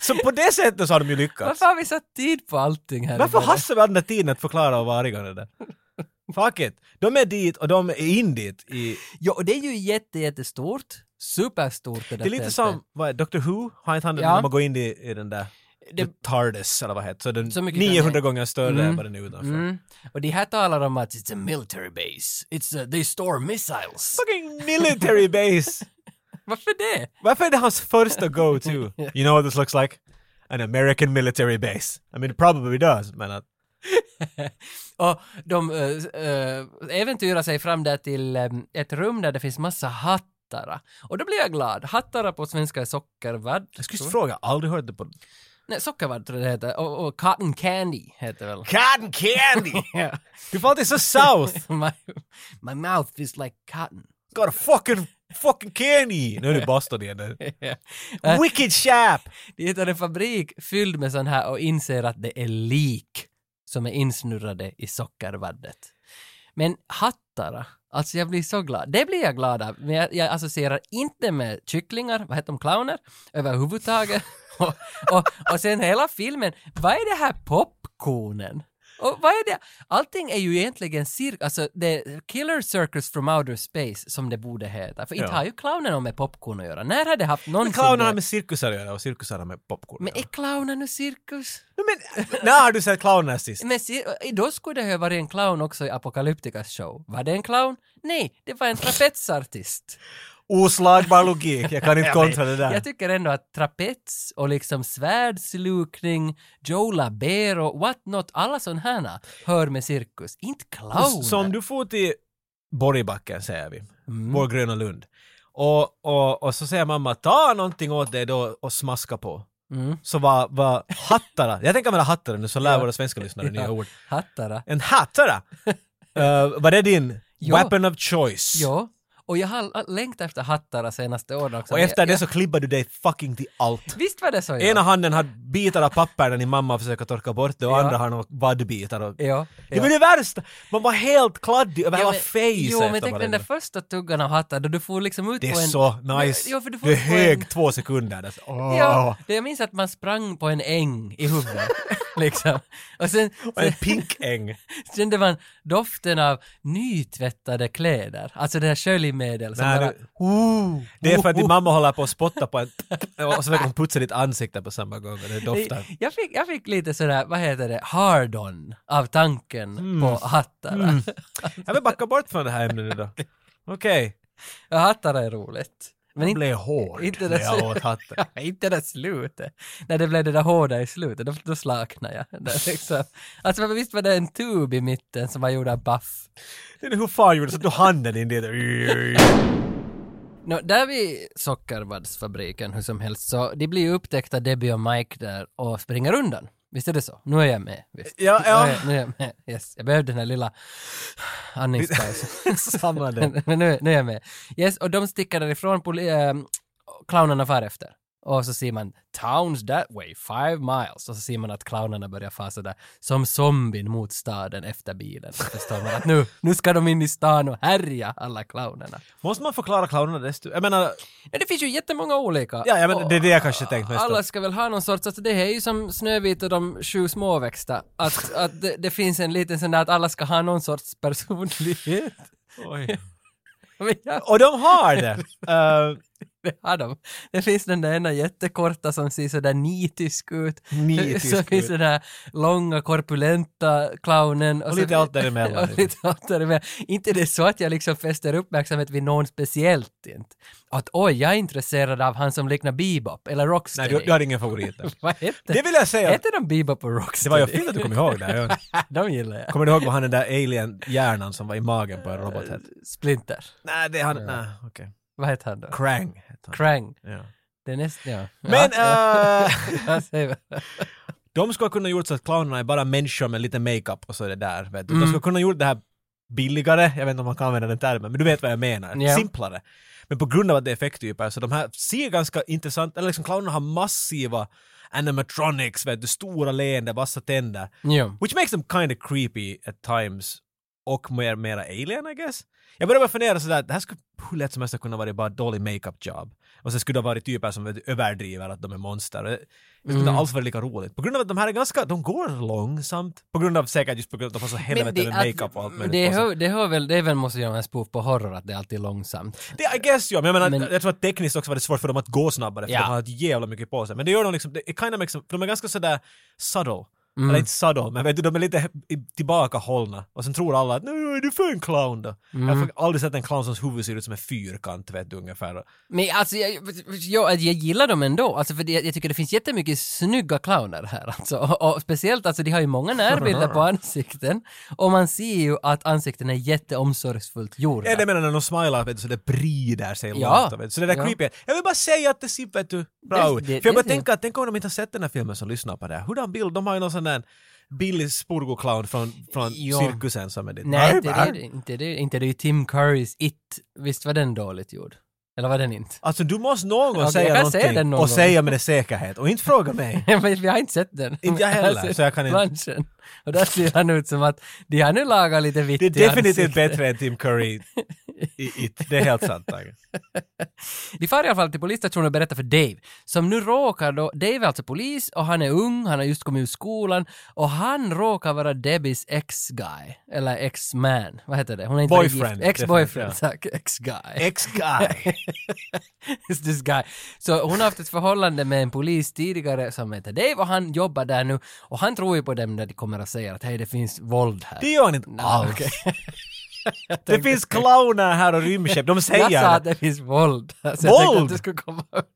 Så på det sättet så har de ju
är.
lyckats.
Varför har vi satt tid på allting här? i
Varför
början?
hassar vi all den där tiden att förklara och vara igång det där? Fuck it. De är dit och de är in dit i
Ja, och det är ju jätte, jättestort. Superstort det där
Det är lite
tältet.
som, vad är Doctor Who? Har inte han den
Ja.
när man går in i, i den där
Det-
the TARDIS eller vad heter så den
Så mycket
900
kan jag-
gånger större
Mm.
än vad den är utanför.
Mm. Och de här talar om att it's a military base. It's a, they store missiles.
Fucking military base!
Varför det?
Varför är det hans första go-to? You know what this looks like? An American military base. I mean it probably does, men att...
Och de eh, eh, äventyrar sig fram där till eh, ett rum där det finns massa hattara. Och då blir jag glad. Hattara på svenska är sockervadd.
Jag skulle just fråga, aldrig hört det på...
Nej, sockervadd tror jag det heter. Och, och cotton candy heter väl.
Cotton candy! du får alltid så south!
my, my mouth feels like cotton.
Got a fucking, fucking candy! Nu är du Boston igen. Eh,
Ja. Eh.
Wicked chap!
De hittar en fabrik fylld med sån här och inser att det är lik som är insnurrade i sockervaddet. Men hattara, alltså jag blir så glad. Det blir jag glad av, men jag, jag associerar inte med kycklingar, vad heter de, clowner, överhuvudtaget. och, och, och sen hela filmen, vad är det här popcornen? Och vad är det? Allting är ju egentligen cirkus, alltså det är Killer Circus from Outer Space som det borde heta. För inte
Ja.
har ju clownerna med popcorn att göra. När har det haft någonsin
Clownerna med cirkusar att göra och cirkusarna med popcorn.
men
att
är
göra.
clownen nu cirkus?
Men, när har du sett clowner sist?
Men cir- då skulle det ha varit en clown också i Apocalypticas show. Var det en clown? Nej, det var en trapetsartist.
Oslagbar logik, jag kan inte kontra det där.
Jag tycker ändå att trapets och liksom svärdslukning, Joe Labero, what not, alla sådana här hör med cirkus. Inte clowner.
Som du får till Borgbacken säger vi, vår Gröna Lund. Och, och, och så säger mamma ta någonting åt dig då och smaska på.
Mm.
Så vad var hattara, jag tänker använda hattara nu så lär våra svenska lyssnare nya ord.
Hattara.
En hattara! Eh, var det din
Ja.
weapon of choice?
Ja. Och jag har längtat efter hattar de senaste åren också.
Och
men
efter
jag,
det så klibbar du dig fucking till allt.
Visst var det så? ja.
Ena handen har bitar av papper när din mamma försöker torka bort det och
Ja.
andra har några vaddbitar. Och...
Ja.
Det var det värsta! Man var helt kladdig över
Ja,
hela
men-
face
Jo, men
efter
tänk den
varenda.
där första tuggan av hattar då du får liksom ut
Det är
på en...
så nice.
Ja, för du får
du är
ut på
hög
en-
två sekunder. Alltså. Åh.
Ja, det jag minns att man sprang på en äng i huvudet. liksom. Och sen,
Och en pink äng.
sen kände man doften av nytvättade kläder. Alltså det här sköljmedel som
Nej,
bara...
det- Det är för att din mamma håller på att spotta på en... Och så försöker hon putsa ditt ansikte på samma gång och det doftar.
Jag fick, jag fick lite sådär, vad heter det, hard-on av tanken
Mm.
på hattar.
Jag vill backa bort från det här ämnet idag. Okej.
Ja, hattar är roligt. Men
Jag
inte,
blev hård
inte
när
det-
jag åt hatten.
ja, inte det slutet. När det blev det där hårda i slutet, då, då slaknade jag. Det är liksom. Alltså visst var det en tub i mitten som var gjord av buff.
Det är Hur fan gjorde du? Så du handen in i det.
Nå, där vid sockervaddsfabriken hur som helst så de blir ju upptäckta Debbie och Mike där och springer undan. Visst är det så? Nu är jag med. Visst.
Ja, ja.
Nu är jag, nu är jag med. Yes. Jag behövde den här lilla andningspausen.
Samma det.
Men men nu, nu är jag med. Yes, och de sticker därifrån, poli- ehm, clownerna far efter. Och så ser man “Towns that way, five miles” och så ser man att clownerna börjar fasa där som zombien mot staden efter bilen. Så förstår man att nu, nu ska de in i stan och härja alla clownerna.
Måste man förklara clownerna desto... Jag menar,
Men det finns ju jättemånga olika.
ja, jag menar
Och
det är det jag kanske tänkt mest på.
Alla ska väl ha någon sorts, alltså det här är ju som Snövit och de sju småväxta. Att, att det, det finns en liten sån där att alla ska ha någon sorts personlighet.
Oj.
Men jag
Och de har det! Eh,
Det har de. Det finns den där ena jättekorta som ser sådär nitisk ut.
Nitisk
så finns
ut.
den där långa korpulenta clownen.
Och
så-
lite allt däremellan. liksom.
och lite allt däremellan. Inte det är så att jag liksom fäster uppmärksamhet vid någon speciellt. Inte. Att oj, jag är intresserad av han som liknar Bebop eller
nej,
Rocksteady.
du, du har ingen favorit där.
Vad hette
Det vill jag säga.
Hette de Bebop och
Det
Rocksteady?
var ju fint att du kom ihåg det. Ja.
de gillar jag.
Kommer du ihåg vad han den där alien-hjärnan som var i magen på en robot hette?
Splinter.
Nej, det är han... Nej, okej.
Vad hette han då?
Krang hette han.
Krang.
Ja.
Det är nästan... Ja.
Men
Ja,
eh,
ja, säg vad.
de skulle ha kunnat gjort så att clownerna är bara människor med lite makeup och så är det där. Vet du. De skulle ha kunnat gjort det här billigare, jag vet inte om man kan använda den termen, men du vet vad jag menar.
Ja.
Simplare. Men på grund av att det är effekttyper så de här ser ganska intressant, eller liksom clownerna har massiva animatronics, vet du, stora leenden, vassa tänder.
Jo.
Which makes them kind of creepy at times. Och mer, mera alien, I guess. Jag började bara fundera sådär, det här skulle hur lätt som helst kunna vara bara dålig makeup job. Och sen skulle det ha varit typer som vet du, överdriver att de är monster. Det skulle
Mm.
inte alls vara lika roligt. På grund av att de här är ganska, de går långsamt. På grund av säkert just på grund av att de har så helvete med
att-
makeup och allt möjligt
det
på sig.
hör, det hör väl, det är väl måste göra en spoof på horror att det alltid är långsamt.
Det, I guess ja, men jag menar,
Men-
jag tror att tekniskt också var det svårt för dem att gå snabbare för
Ja.
de har ett jävla mycket på sig. Men det gör de liksom, det it kinda makes them, för de är ganska sådär subtle.
Mm.
Eller inte subtle, men vet du, de är lite i- tillbakahållna. Och sen tror alla att nu är du för en clown då.
Mm.
Jag har aldrig sett en clown som huvud ser ut som en fyrkant vet du ungefär.
Men alltså jag, jag, jag gillar dem ändå, alltså för det, jag tycker det finns jättemycket snygga clowner här alltså. och, och speciellt alltså de har ju många närbilder på ansikten och man ser ju att ansikten är jätteomsorgsfullt gjorda.
Ja. Jag menar när de smilar vet du, så det brider sig
Ja.
långt. Vet du. Så det där
Ja.
creepy. Jag vill bara säga att det ser vet du, bra
Det- det-
ut. För jag
det
bara
ser-
tänker att tänk om de inte har sett den här filmen som lyssnar på det här. Hurdan bild? De har ju någon sån där billig spurgo-clown från, från
Ja.
cirkusen som är dit.
Nej, inte det, inte det, inte det är ju Tim Currys It, visst var den dåligt gjord? Eller var den inte?
Alltså du måste någon gång
Okej,
säga
jag kan
någonting
säga den någon
och
gång.
säga med det säkerhet och inte fråga mig.
Men vi har inte sett den.
Inte jag heller, så jag kan inte-
Planschen. Och där ser han ut som att de har nu lagat lite vitt
Det
i
är definitivt
ansiktet.
bättre än Tim Curry i It. Det är helt sant. Tage.
De far i alla fall till polisstationen och berättar för Dave, som nu råkar då, Dave är alltså polis och han är ung, han har just kommit ur skolan och han råkar vara Debbies ex-guy, eller ex-man, vad heter det? Hon är inte
Boyfriend,
gift. Ex-boyfriend,
definitivt,
tack. Ex-guy.
Ex-guy.
It's this guy. Så hon har haft ett förhållande med en polis tidigare som heter Dave och han jobbar där nu och han tror ju på dem när de kommer och säger att hej det finns våld här.
Det gör han inte alls. Det finns clowner här och rymdskepp. De säger
Jag sa att
det.
det finns våld. Så jag tänkte att
Våld?
du skulle komma undan.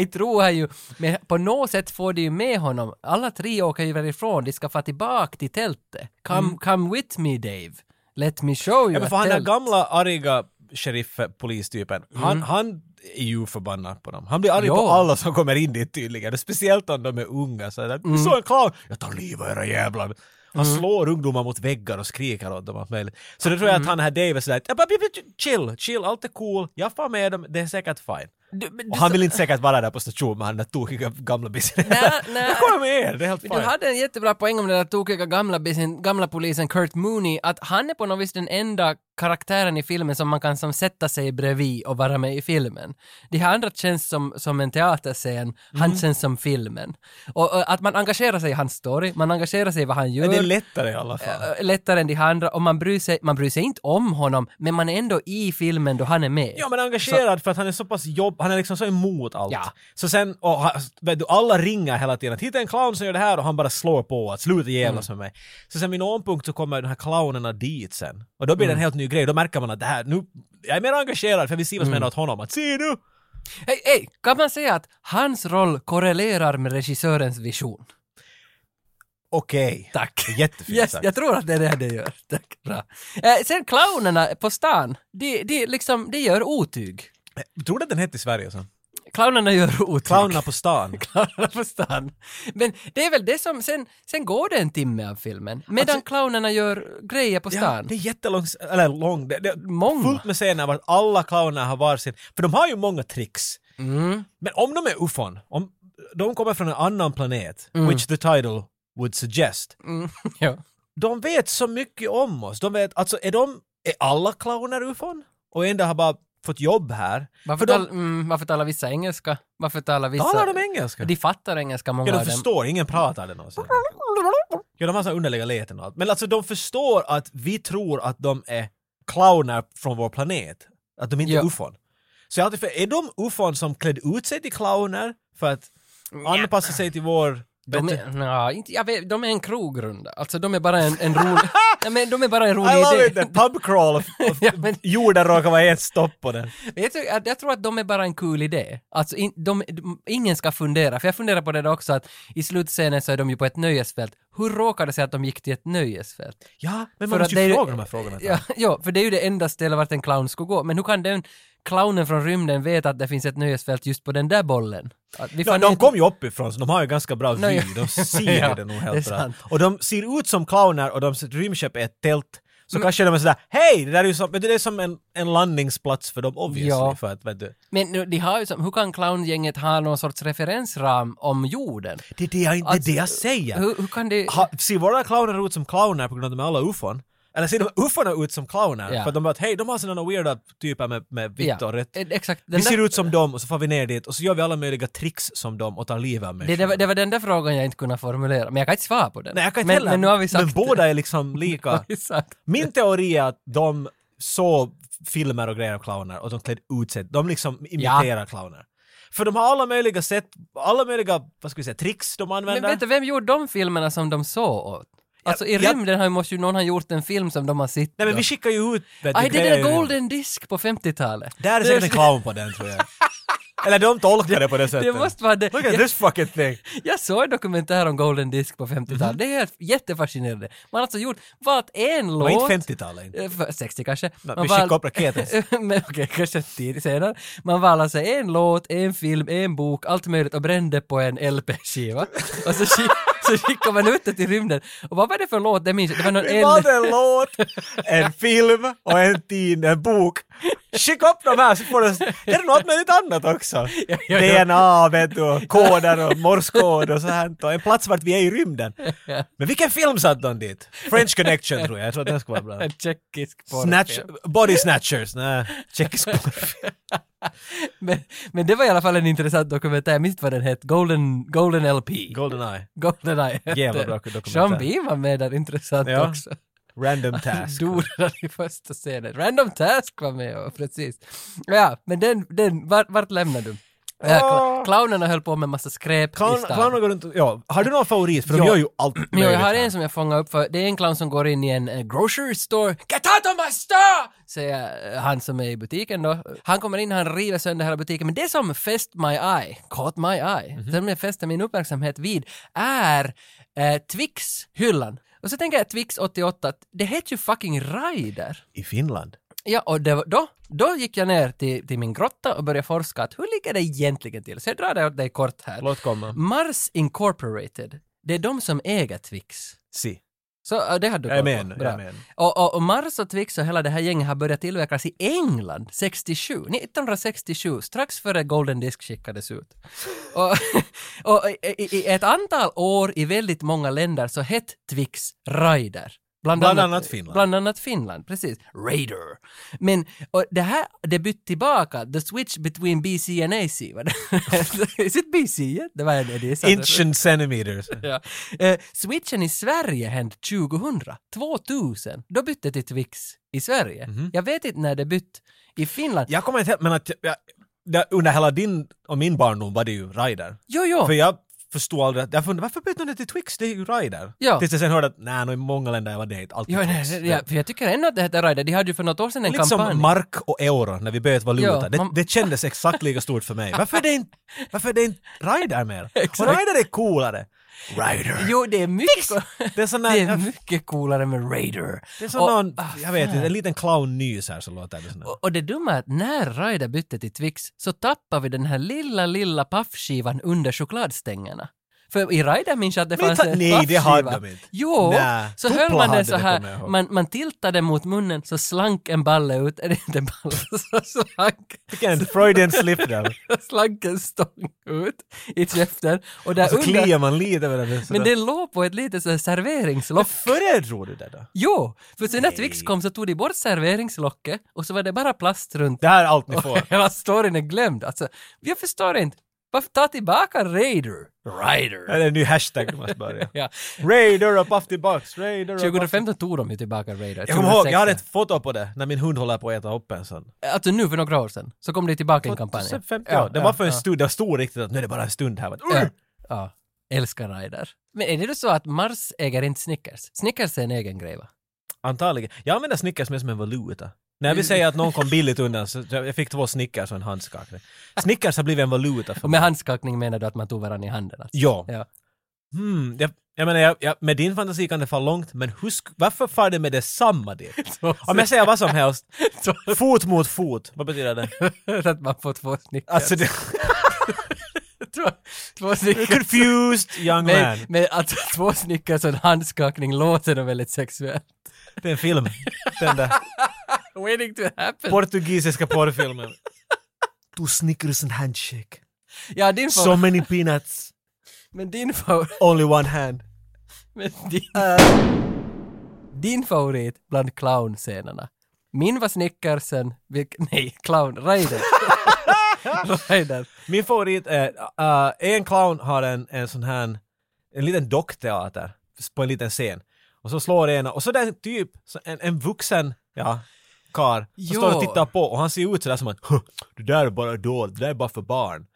Jag tror han ju, men på något sätt får de ju med honom. Alla tre åker ju därifrån, de ska få tillbaka till tältet. Come, come with me Dave. Let me show you
Mm. Ja, men
a
för han den
tält.
gamla arga sheriff-polistypen, han, han är ju förbannad på dem. Han blir arg
Mm. Ja.
på alla som
Mm.
kommer in dit tydligen. Och Speciellt om de är unga. Så där, Du såg en clown. Jag tar livet av era jävlar. Han slår ungdomar mot väggar och skriker åt dem allt möjligt. Så det tror
Mm.
jag att han här Dave är sådär, "Ja, bara, chill, chill, allt är cool, jag far med dem, det är säkert fine.
Du, men
Och
du
han
sa-
vill inte säkert vara där på stationen med han den där tokiga gamla bissen.
Nej, nej.
Jag kommer med er, det är helt
Men
fine.
Du hade en jättebra poäng om den där tokiga gamla, bisen- gamla polisen Kurt Mooney, att han är på något vis den enda karaktären i filmen som man kan som sätta sig bredvid och vara med i filmen. De här andra känns som, som en teaterscen,
Mm.
han känns som filmen. Och, och att man engagerar sig i hans story, man engagerar sig i vad han gör.
Men det är lättare i alla fall.
Äh, lättare än de här andra och man bryr, sig, man bryr sig inte om honom men man är ändå i filmen då han är med.
Ja men engagerad för att han är så pass jobb, han är liksom så emot allt.
Ja.
Så sen, och, ha- vet du, alla ringer hela tiden att hitta en clown som gör det här och han bara slår på att sluta jävlas
Mm.
med mig. Så sen vid någon punkt så kommer de här clownerna dit sen. Och då blir det
Mm.
en helt ny grej, då märker man att det här, nu, jag är mer engagerad för vi
Mm.
ser vad som händer åt honom. Att se nu!
Hej, hej, kan man säga att hans roll korrelerar med regissörens vision?
Okej.
Tack.
Jättefint
Yes,
sagt.
jag tror att det är det det gör. Tack, bra. Eh, sen clownerna på stan, de, de, liksom, de gör otyg.
Tror du att den hette i Sverige sen?
Clownerna gör otyg.
Clownerna på stan.
Clownerna på stan. Men det är väl det som, sen, sen går det en timme av filmen, medan clownerna gör grejer på
Alltså- Ja,
stan.
det är jättelång, eller lång, det, det är
Många.
fullt med scener vart alla clowner har varsin, för de har ju många tricks.
Mm.
Men om de är ufon, om de kommer från en annan planet,
Mm.
which the title would suggest,
ja.
de vet så mycket om oss. De vet, alltså är de, är alla clowner ufon? Och en dag har bara fått jobb här.
Varför,
för de,
tal, mm, varför talar vissa engelska? Varför talar vissa...
talar de engelska?
De fattar engelska, många
Ja, de
av dem.
förstår, ingen pratar det någonsin. Ja, de har sådana underliga leten och allt. Men alltså de förstår att vi tror att de är clowner från vår planet. Att de inte
Ja.
är ufon. Så jag har alltid för, är de ufon som klädde ut sig till clowner för att anpassa sig till vår...
De
vet du-
är, nja, inte, jag vet, de är en krogrunda. Alltså de är bara en, en rolig... Nej, men de är bara en rolig
I
idé.
love it! the Pub crawl! of- of-
Ja, men-
Jorden råkar vara ett stopp på den.
Jag tror, jag, jag tror att de är bara en kul idé. Alltså, in, de, de, ingen ska fundera, för jag funderar på det där också att i slutscenen så är de ju på ett nöjesfält. Hur råkar det sig att de gick till ett nöjesfält?
Ja, men
För
man
att
måste
det är
ju
ju-
fråga de här frågorna.
Ja, ja, för det är ju det enda stället vart en clown skulle gå. Men hur kan den clownen från rymden veta att det finns ett nöjesfält just på den där bollen? Att vi
Ja,
fann
de
inte-
kom ju uppifrån så de har ju ganska bra
Nej,
vy,
ja.
de ser
Ja,
det nog
det är
helt bra.
sant.
Och de ser ut som clowner och de rymdskepp är ett tält.
Mm.
Så kanske de är sådär, hej! Det där är ju som, men det är som en, en landningsplats för dem obviously.
Ja.
För att, vet du,
Men nu, de har ju som, hur kan clowngänget ha någon sorts referensram om jorden?
det är det jag, det är
Alltså,
det jag säger!
Hur, hur kan det...
ha, ser våra clowner ut som clowner på grund av att de är alla ufon? Eller ser de ufona ut som clowner?
Ja.
För att de bara, hej, de har sådana weirda typer med, med vitt och rätt.
eh, Exakt. den
Vi
där-
ser ut som dem och så får vi ner dit och så gör vi alla möjliga tricks som dem och tar livet av
Det, det,
människor.
var, det var den där frågan jag inte kunde formulera, men jag kan inte svara på den.
Nej, jag kan inte
men,
heller.
men nu har vi sagt
men båda är liksom lika.
det. Exakt.
Min teori är att de såg filmer och grejer av clowner och de klädde ut sig. De liksom imiterar clowner. För de har alla möjliga sätt, alla möjliga, vad ska vi säga, tricks de använder.
Men vet du, vem gjorde de filmerna som de såg åt? Alltså i
jag-
rymden har ju måste ju någon ha gjort en film som de har sett.
Nej men
då.
vi skickar ju ut... vet du,
Aj, det
grejer
är den
i
där
rymden.
Golden Disc på 50-talet.
Där är säkert en clown på den tror jag. Eller de tolkar det på det sättet.
Det måste vara det.
Look at
Jag,
this fucking thing!
jag såg en dokumentär om Golden Disc på 50-talet.
Mhm.
Det är helt jättefascinerande. Man har alltså gjort vart en
Det var
låt...
inte 50-talet. inte.
Eh, för- 60 kanske. Man
vi
val-
skickar upp raketer.
Men Okej, kanske tidigt senare. Man valde alltså en låt, en film, en bok, allt möjligt och brände på en LP-skiva. Och så, skick, så skickade man ut det till rymden. Och vad var det för låt? Det minns jag. Det var någon
Vi valde
L-
en låt, en film och en tid, en bok. Skicka upp de här så får du... Är det något möjligt annat också?
ja, ja.
DNA, vet du, koder och morskod och så här. Och en plats vart vi är i rymden. Men vilken film satt de dit? French Connection tror jag, jag tror att den skulle vara bra.
en tjeckisk porrfilm.
Snatch, body Snatchers, nej, tjeckisk
Men, men det var i alla fall en intressant dokumentär. Jag minns inte vad den hette. Golden, Golden LP.
Goldeneye,
Goldeneye. hette
Jävla
den.
bra dokumentär.
Sean Bean var med där, intressant
Ja.
också.
Random Task.
Dora i första scenen. Random Task var med och precis. Ja, men den, den vart, vart lämnar du? Ja, cl- clownerna höll på med massa skräp i
Clown,
stan.
clowner går runt och- ja, har du någon favorit? För de
Ja.
gör ju allt
men jag har
möjligt.
en som jag fångade upp för, det är en clown som går in i en eh, grocery store. Get out of my store! Säger eh, han som är i butiken då. Han kommer in, han river sönder hela butiken. Men det som fäst my eye, caught my eye,
Mhm.
som jag fäste min uppmärksamhet vid är eh, Twix-hyllan. Och så tänker jag Twix 88, det heter ju fucking Rider.
I Finland.
Ja, och det var, då, då gick jag ner till, till min grotta och började forska att hur ligger det egentligen till? Så jag drar det åt dig kort här.
Låt komma.
Mars Incorporated, det är de som äger Twix.
Si.
Så äh, det hade du
Jag är
koll på.
med nu,
Bra.
jag är med nu.
Och, och, och Mars och Twix och hela det här gänget har börjat tillverkas i England 67, 1967, strax före Golden Disc skickades ut. Och, och i, i, i ett antal år i väldigt många länder så hett Twix Raider.
Bland annat Finland.
Bland annat Finland, precis. Raider. Men och det här, det bytt tillbaka, the switch between BC and AC. var det- Is it BC yet? Det var en det är sant.
Inch and centimeters.
Ja. Eh, switchen i Sverige hände 2000, 2000. Då bytte till Twix i Sverige.
Mhm.
Jag vet inte när det bytt i Finland.
Jag kommer inte ihåg, men att jag, där under hela din och min barndom var det ju Ryder.
Jo, jo.
För jag förstod aldrig, att- jag funderade varför bytte de det till Twix? Det är ju Ryder.
Ja.
Tills jag sen hörde att nej, nå, i många länder var det inte alltid
Jo, nej,
Twix. Liksom
ja, för jag tycker ändå att det heter Raider. De hade ju för något år sedan en
Det är lite
kampanj.
som mark och euro när vi bytte valuta.
Ja,
det,
man-
det kändes exakt lika stort för mig. Varför är det inte, varför är det inte Ryder mer? Och Ryder är coolare. Ryder.
jo, det är mycket,
Det är sån
det är
där,
mycket coolare med Raider.
det är sån
Och- Ah.
någon, jag vet inte, en liten clown-nys här så låter det sån där.
Och, och det dumma är att när Ryder bytte till Twix så tappade vi den här lilla, lilla paffskivan under chokladstängerna. För i Ryder minns jag att det
Men
fanns
ta-
en
nej, det
paffskiva.
hade de inte.
Jo,
Nej,
så
Tupla
höll man
hade
den
det,
så
kommer jag
här.
ihåg.
Man, man tiltade mot munnen så slank en balle ut. Är det inte en balle? Så slank,
Vilken Freudian slip där.
slank en stång ut i käften. Och där
Och så
under,
kliar man lite med den.
men det låg på ett litet så här serveringslock.
Föredrog du det då?
Jo, för sen när Twix kom så tog de bort serveringslocket och så var det bara plast runt
Det här är allt ni får.
Hela storyn är glömd. Alltså, jag förstår inte. Varför ta tillbaka Raider?
Det
Rider.
är en ny hashtag du måste börja.
Ja.
Raider och Puff the Box, Raider och Puff-
2015 tog de ju tillbaka Raider.
Jag kommer ihåg, jag hade
2016.
ett foto på det när min hund håller på att äta upp en sån.
Alltså nu för några år sedan så kom det tillbaka i en kampanj.
2015, ja, det var för en stund, det stod riktigt att nu är det bara en stund här. Mm, Men,
Ja,
"Urr!"
ja. Älskar Raider. Men är det då så att Mars äger inte Snickers? Snickers är en egen grej va?
Antagligen. Jag använder Snickers mer som en valuta. När vi säger att någon kom billigt undan så jag jag fick två Snickers och en handskakning. Snickers har blivit en valuta för
Och med handskakning menar du att man tog varandra i handen? Alltså.
Ja.
Ja.
Hmm, jag, jag menar, jag, jag, med din fantasi kan det falla långt, men husk, varför far det med detsamma dit? Om jag säger vad som helst, fot mot fot, vad betyder det?
att man får två Snickers.
Alltså, det,
två, två Snickers.
confused young
Men,
man.
men alltså två Snickers och en handskakning låter nog väldigt sexuellt.
Det är en film. Den där
Waiting to happen.
portugisiska porrfilmen. Two Snickers and handshake.
Ja, din favorit.
So many peanuts.
Men din favorit...
Only one hand.
Men din, din favorit bland clownscenerna. Min var Snickersen, vilk, nej, clown, Raider. Raider.
Min favorit är, äh, en clown har en, en sån här, en liten dockteater på en liten scen. Och så slår ena, och så den typ, så en, en vuxen, ja, karl, som
Jo.
står och tittar på och han ser ut sådär som att "Huh, det där är bara dåligt, det där är bara för barn.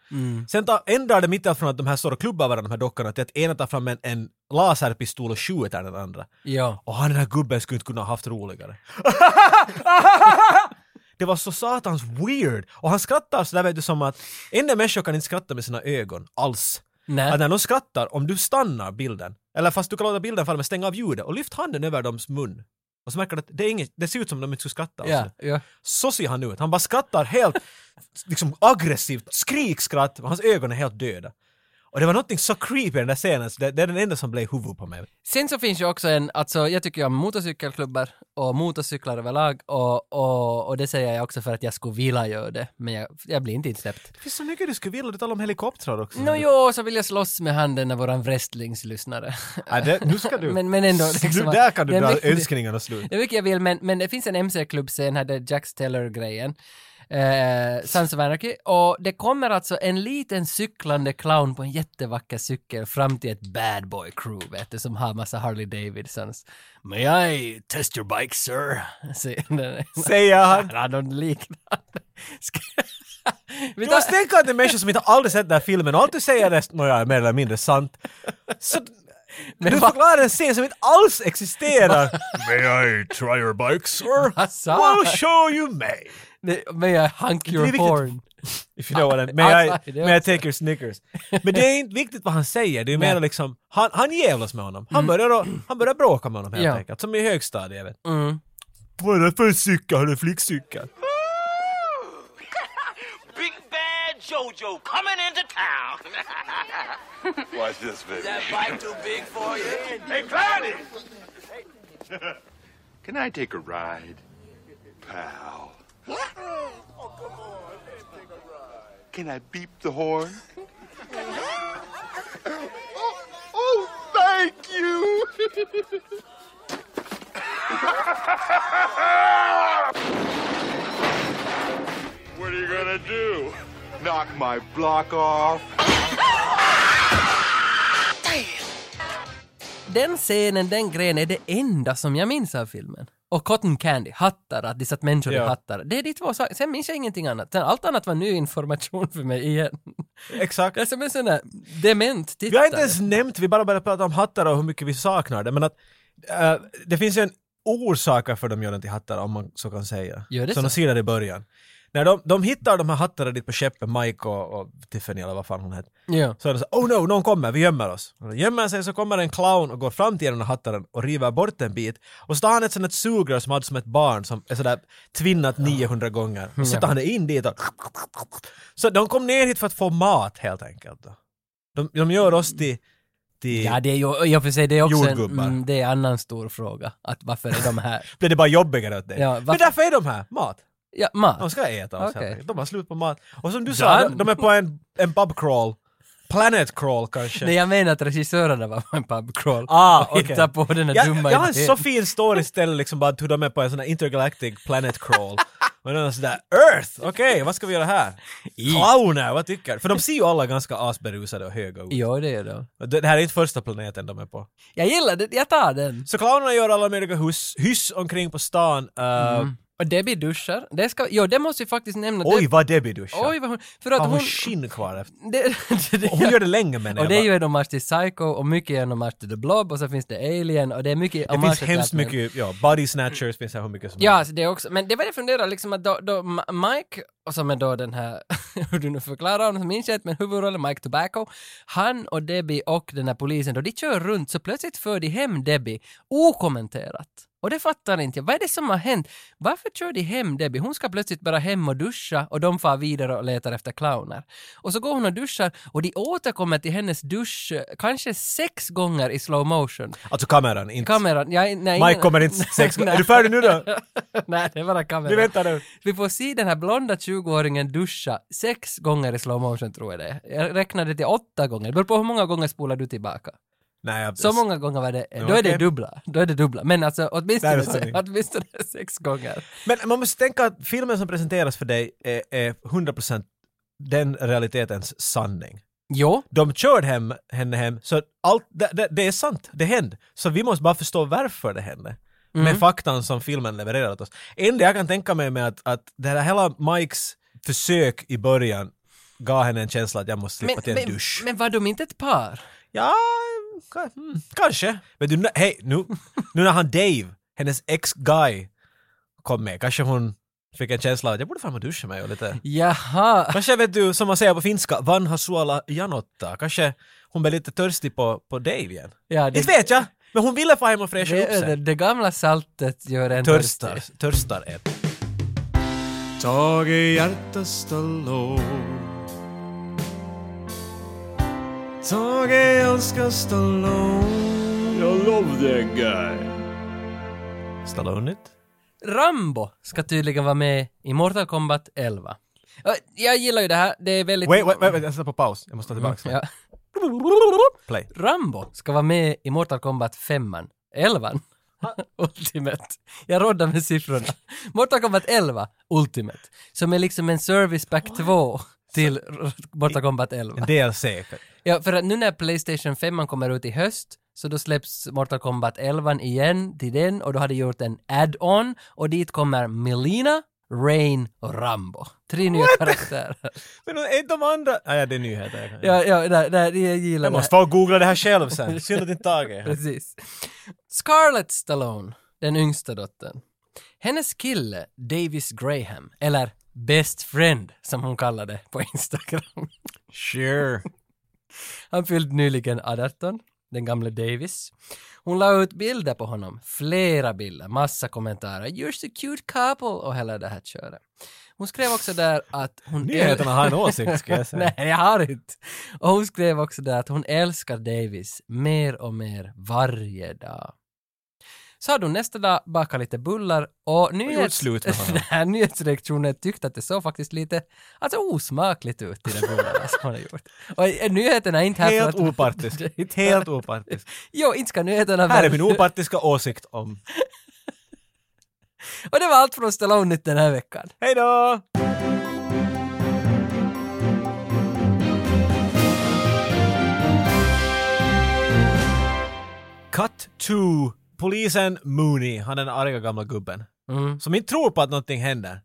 Sen tar, ändrar det mitt allt från att de här står och klubbar varandra, de här dockorna, till att ena tar fram en, en laserpistol och skjuter den andra.
Ja.
Och han den här gubben skulle inte kunna ha haft roligare. Det var så satans weird! Och han skrattar sådär vet du som att enda människor kan inte skratta med sina ögon alls.
Nej.
Att när någon skrattar, om du stannar bilden, eller fast du kan låta bilden falla men stänga av ljudet och lyft handen över dems mun. Och så märker du att det, är inget, det ser ut som om de inte skulle skratta. alls.
Ja, ja.
Så ser han ut. Han bara skrattar helt liksom aggressivt, skrikskratt, och hans ögon är helt döda. Och det var någonting så creepy i den där scenen, så det, det är den enda som blev i huvudet på mig.
Sen så finns ju också en, alltså jag tycker ju om motorcykelklubbar och motorcyklar överlag och, och, och det säger jag också för att jag skulle vilja göra det, men jag, jag blir inte insläppt.
Det finns så mycket du skulle vilja, du talar om helikoptrar också.
Nå jo, så vill jag slåss med handen av våran wrestlingslyssnare.
Ja, det, nu ska du...
Men- men ändå, liksom
du, där kan
att-
du
det är
dra
mycket-
önskningarna slut.
Det är mycket jag vill, men, men det finns en MC-klubbscen här, det är Jack Steller-grejen. Eh, Sons of Anarchy. Och det kommer alltså en liten cyklande clown på en jättevacker cykel fram till ett bad boy crew, vet du, som har massa Harley Davidsons. May I test your bike, sir? Säger den.
Säger han.
Han har någon liknande. Ska... Vi
Du
tar...
måste tänka att det är människor som inte aldrig sett den här filmen och allt du säger är nåja, mer eller mindre sant. Så, du
vad-
förklarar en scen som inte alls existerar. May I try your bike sir?
Vad sa han?
Well show you may.
Nej, May I hunk your
viktigt.
horn?
If you know what I May I,
Ah, det är
may I
också-
take your Snickers? Men det är inte viktigt vad han säger, det är mer
Nej. Mm.
liksom, han, han jävlas med honom. Han börjar, då- han börjar bråka med honom helt
Ja.
enkelt, som i högstadiet. Vet.
Mm.
Vad är det för cykel? Har du flickcykel?
Big Bad JoJo coming into town.
Watch this, baby.
that bike too big for you?
Hey, Cloudy! Can I take a ride, pal? Can I beep the horn? oh, oh, thank you! what are you gonna do? Knock my block off?
Den scenen, den grejen är det enda som jag minns av filmen. Och cotton candy, hattar, att de satt människor
Ja.
i hattar. Det är de två sakerna. Sen minns jag ingenting annat. Sen allt annat var ny information för mig igen.
Exakt.
Jag är som en sån där dement
Vi har
tittare.
inte ens nämnt, vi bara började prata om hattar och hur mycket vi saknar det, men att eh, det finns ju en orsak varför de gör den till hattar, om man så kan säga.
Gör det
som
så?
de ser där i början. När de, de hittar de här hattarna dit på skeppet, Mike och, och Tiffany eller vad fan hon hette.
Ja.
Så är det så oh no, någon kommer, vi gömmer oss. Och de gömmer sig, så kommer en clown och går fram till den här hattaren och river bort en bit. Och så tar han ett sånt ett sugrör som hade som ett barn som är sådär tvinnat 900 gånger. Och så tar han det in dit och... Så de kom ner hit för att få mat helt enkelt. då. De, de gör oss till... till
Ja, det är ju i och för sig det är också en,
Jordgubbar.
mm, det är en annan stor fråga. Att varför är de här?
Blev det bara jobbigare åt dig?
Ja,
Men
varför-
därför är de här, mat.
Ja,
De
mat.
ska äta oss helt
Okej.
enkelt. De har slut på mat. Och som du sa, de,
Done.
de är på en, en pub crawl. Planet crawl kanske.
Nej, jag menar att regissörerna var på en pub crawl.
Ah,
och
okej.
hittade på den här dumma
jag, jag har en
idén.
så fin story istället liksom bara hur de är på en sån här intergalactic planet crawl. Och de är sådär Earth, okej vad ska vi göra här? Clowner, vad tycker du? För de ser ju alla ganska asberusade och höga ut.
Ja, det är de.
Det det här är inte första planeten de är på.
Jag gillar det, jag tar den.
Så clownerna gör alla möjliga hus, hyss omkring på stan. Uh,
Och Debbie duschar. Det ska, jo, Mm. det måste vi faktiskt nämnna.
Oj
Deb-
vad Debbie duschar!
oj, vad hon... För att
har hon,
hon...
skinn kvar efter?
det, det, det,
Och Hon gör det länge menar
och
jag.
det är ju
bara.
en hommage till Psycho och mycket är en hommage till The Blob och så finns det Alien och det är mycket
det
hommage
finns
till
hemskt
allt möjligt.
mycket, ja, body snatchers finns det hur mycket som
Ja, alltså det också. Men det var det jag funderade liksom att då, då Ma- Mike, och som är då den här, hur du nu förklarar honom, så minns jag inte, men huvudrollen Mike Tobacco, han och Debbie och den här polisen, då de kör runt så plötsligt för de hem Debbie okommenterat. Och det fattar inte jag. Vad är det som har hänt? Varför kör de hem Debbie? Hon ska plötsligt bara hem och duscha och de far vidare och letar efter clowner. Och så går hon och duschar och de återkommer till hennes dusch eh, kanske sex gånger i slow motion.
Alltså kameran, inte...
Kameran, jag, nej,
Mike
ingen-
kommer inte sex
Nej.
Är du färdig nu då?
Nej, det är bara kameran.
Vi väntar nu.
Vi får se den här blonda 20-åringen duscha sex gånger i slow motion tror jag det är. Jag räknade till åtta gånger. Det beror på hur många gånger spolar du tillbaka.
Nej, jag...
Så många gånger var det, då är det
okej.
dubbla. Då är det dubbla. Men alltså
Det
åtminstone,
här är sanning.
åtminstone sex gånger.
Men man måste tänka att filmen som presenteras för dig är, är 100% den realitetens sanning.
Jo,
De körde hem, henne hem, så allt, det, det, det är sant, det hände. Så vi måste bara förstå varför det hände.
Mm.
Med faktan som filmen levererar åt oss. Enda jag kan tänka mig med att, att det här hela Mikes försök i början gav henne en känsla att jag måste slippa
men,
till en
men,
dusch.
men var de inte ett par?
Ja, ka- mm, kanske. Men du, nä- hej, nu, nu när han Dave, hennes ex-guy, kom med, kanske hon fick en känsla av att jag borde fan duscha mig och lite...
Jaha.
Kanske vet du, som man säger på finska, vanha suola janotta. Kanske hon blev lite törstig på, på Dave igen.
Ja,
Inte vet jag, men hon ville få hem och fräscha
det,
upp
det,
sig.
det gamla saltet gör en
Törstar, törstar ett.
Tage hjärtasta lov Tage älskaste lov
I love that guy.
Stallone it.
Rambo ska tydligen vara med i Mortal Kombat 11. Ö, Jag gillar ju det här, det är väldigt...
Wait, wait, wait, wait, jag sätter på paus. Jag måste ta tillbaka.
Ja.
Play.
Rambo ska vara med i Mortal Kombat 5 11 Ultimate. Jag roddar med siffrorna. Mortal Kombat 11 Ultimate. Som är liksom en service pack 2 till r- Mortal Kombat 11.
En DLC.
Ja, för att nu när Playstation 5 kommer ut i höst så då släpps Mortal Kombat 11 igen till den och då har de gjort en add-on och dit kommer Melina, Rain och Rambo. Tre nya karaktärer.
Men är inte de andra... Ah, ja, det är nyheter. Jag kan-
Ja, ja, nej, nej, jag gillar
Jag
det. här.
måste få googla det här själv sen. Synd att inte Tage är här.
Precis. Scarlett Stallone, den yngsta dottern. Hennes kille, Davis Graham, eller Best Friend som hon kallade på Instagram.
Sure.
Han fyllde nyligen 18, den gamle Davis. Hon la ut bilder på honom, flera bilder, massa kommentarer. “You're so cute couple” och hela det här köret. Hon skrev också där att hon...
Nyheterna har en åsikt ska jag säga.
Nej, jag har inte. Och hon skrev också där att hon älskar Davis mer och mer varje dag. Så hade hon nästa dag bakat lite bullar och
gjort
nyhets...
slut med honom.
Den här nyhetsredaktionen tyckte att det såg faktiskt lite, alltså osmakligt ut i de bullarna som hon har gjort. Och eh, nyheterna är inte här
Helt
för att...
opartisk. Helt opartisk.
Jo, inte ska nyheterna...
Här är min opartiska åsikt om...
Och det var allt från Stallone-nytt den här veckan.
Hej då! Cut to polisen Mooney, han den arga gamla gubben. Som inte tror på att någonting händer.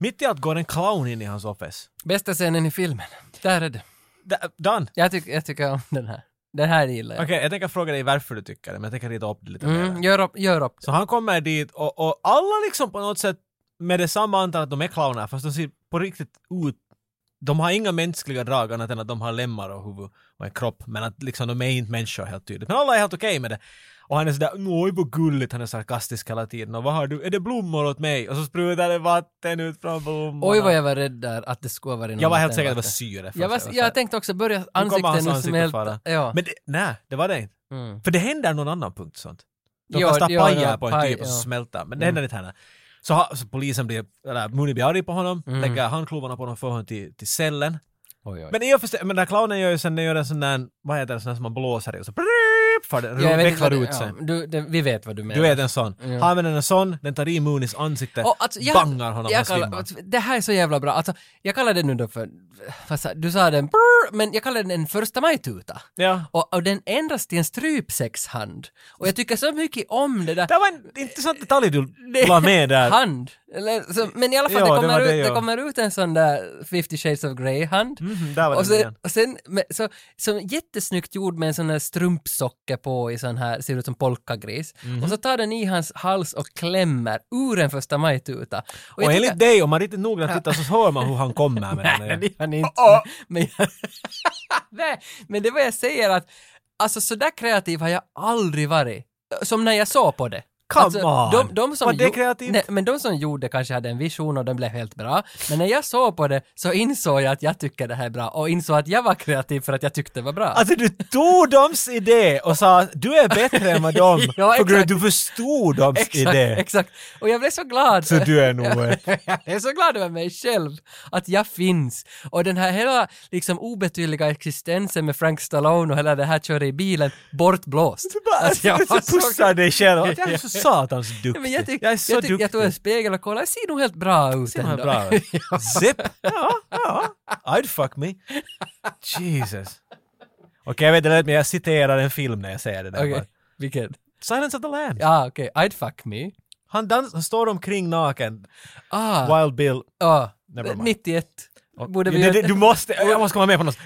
Mitt i allt går en clown in i hans office.
Bästa scenen i filmen. Där är det.
Da- done!
Jag, tyck, jag tycker om den här. Den här gillar jag.
Okej, jag tänker fråga dig varför du tycker det, men jag tänker rita upp det lite mer.
Mm, gör upp, gör upp.
Så han kommer dit och, och alla liksom på något sätt med detsamma antar att de är clowner fast de ser på riktigt ut de har inga mänskliga drag annat än att de har lemmar och huvud och en kropp men att liksom de är inte människor helt tydligt. Men alla är helt okej med det. Och han är sådär oj vad gulligt, han är sarkastisk hela tiden och vad har du, är det blommor åt mig? Och så sprutar det vatten ut från blommorna.
Oj vad jag var rädd där att det skulle vara något
Jag var helt
annat
säker att
än
det var
vatten.
syre.
Jag, var,
först.
jag
såhär,
tänkte också börja
"Nu alltså. kommer hans
ansikten nu
ansikte
smälta.
fara."
Ja.
Men det, nej, det var det inte.
Mm.
För det händer någon annan punkt sånt. De
Ja,
kastar
ja,
pajer
ja,
på en
paj,
typ och så
ja.
smälter, men det händer inte här. Så, ha, så polisen blir, eller Mooney blir arg på honom, lägger handklovarna på honom och får honom till, till cellen.
Oj, oj.
Men i och för sig, men den där clownen gör ju sen, den gör en sån där, vad heter det, sån där som man blåser i och så för den
Ja, jag vet inte
vecklar
vad det-
ut sig.
Ja, du, det, vi vet vad du menar.
Du vet en sån. Han använder en sån, den tar i Mooneys ansikte,
Och alltså, jag-
bangar honom
jag
och
kallar,
svimmar.
alltså, Det här är så jävla bra. Alltså, jag kallar det nu då för... Vad sa, du sa den brrr, men jag kallar den en första maj-tuta.
Ja.
Och, och den ändras till en strypsexhand. Och jag tycker så mycket om det där.
Det var en intressant detalj du la med där.
hand. Eller, så, men i alla fall,
Ja,
det,
det
kommer
var
ut,
det,
det,
ja.
kommer ut en sån där 50 shades of Grey-hand.
Mhm, där var
och
den
sen,
igen.
och sen med, så, så jättesnyggt gjord med en sån här strumpsocker på i sån här, ser ut som polkagris.
Mhm.
Och så tar den i hans hals och klämmer ur en första maj-tuta.
Och,
jag
enligt
tycker-
dig, om man riktigt noggrant tittar så hör man hur han kommer med den.
Nej,
där.
det gör ni inte. Men, nej, men det var jag säger att, alltså sådär kreativ har jag aldrig varit. Som när jag såg på det.
Come
alltså,
on!
De, de som
Var det
gjo-
kreativt?
Nej, men de som gjorde kanske hade en vision och den blev helt bra. Men när jag såg på det så insåg jag att jag tycker det här är bra och insåg att jag var kreativ för att jag tyckte det var bra.
Alltså du tog dems idé och sa att du är bättre än vad de
Ja,
på grund av att
exakt.
du förstod dems
exakt,
idé.
exakt. Och jag blev så glad.
Så du är nog... eh,
jag är så glad över mig själv, att jag finns. Och den här hela liksom obetydliga existensen med Frank Stallone och hela det här köra i bilen, bortblåst. Alltså, jag var
Du
så-
pussar dig själv. Jag är så satans duktig.
Men jag, tyck,
jag är så
jag, tyck,
duktig.
jag tog en spegel och kollade, jag ser nog helt bra ut
Det var
ändå.
bra. Zip! Ja, ja. I'd fuck me. Jesus. Okej, jag vet inte rätt, men jag citerar en film när jag säger det där.
Okej,
bara.
vilken?
Silence of the Lambs.
Ja, okej, I'd fuck me.
Han, dans, han står omkring naken.
Ah,
Wild Bill.
ah
Never mind.
91. Borde vi
Du,
göra-
du, du måste... Jag måste komma med på något.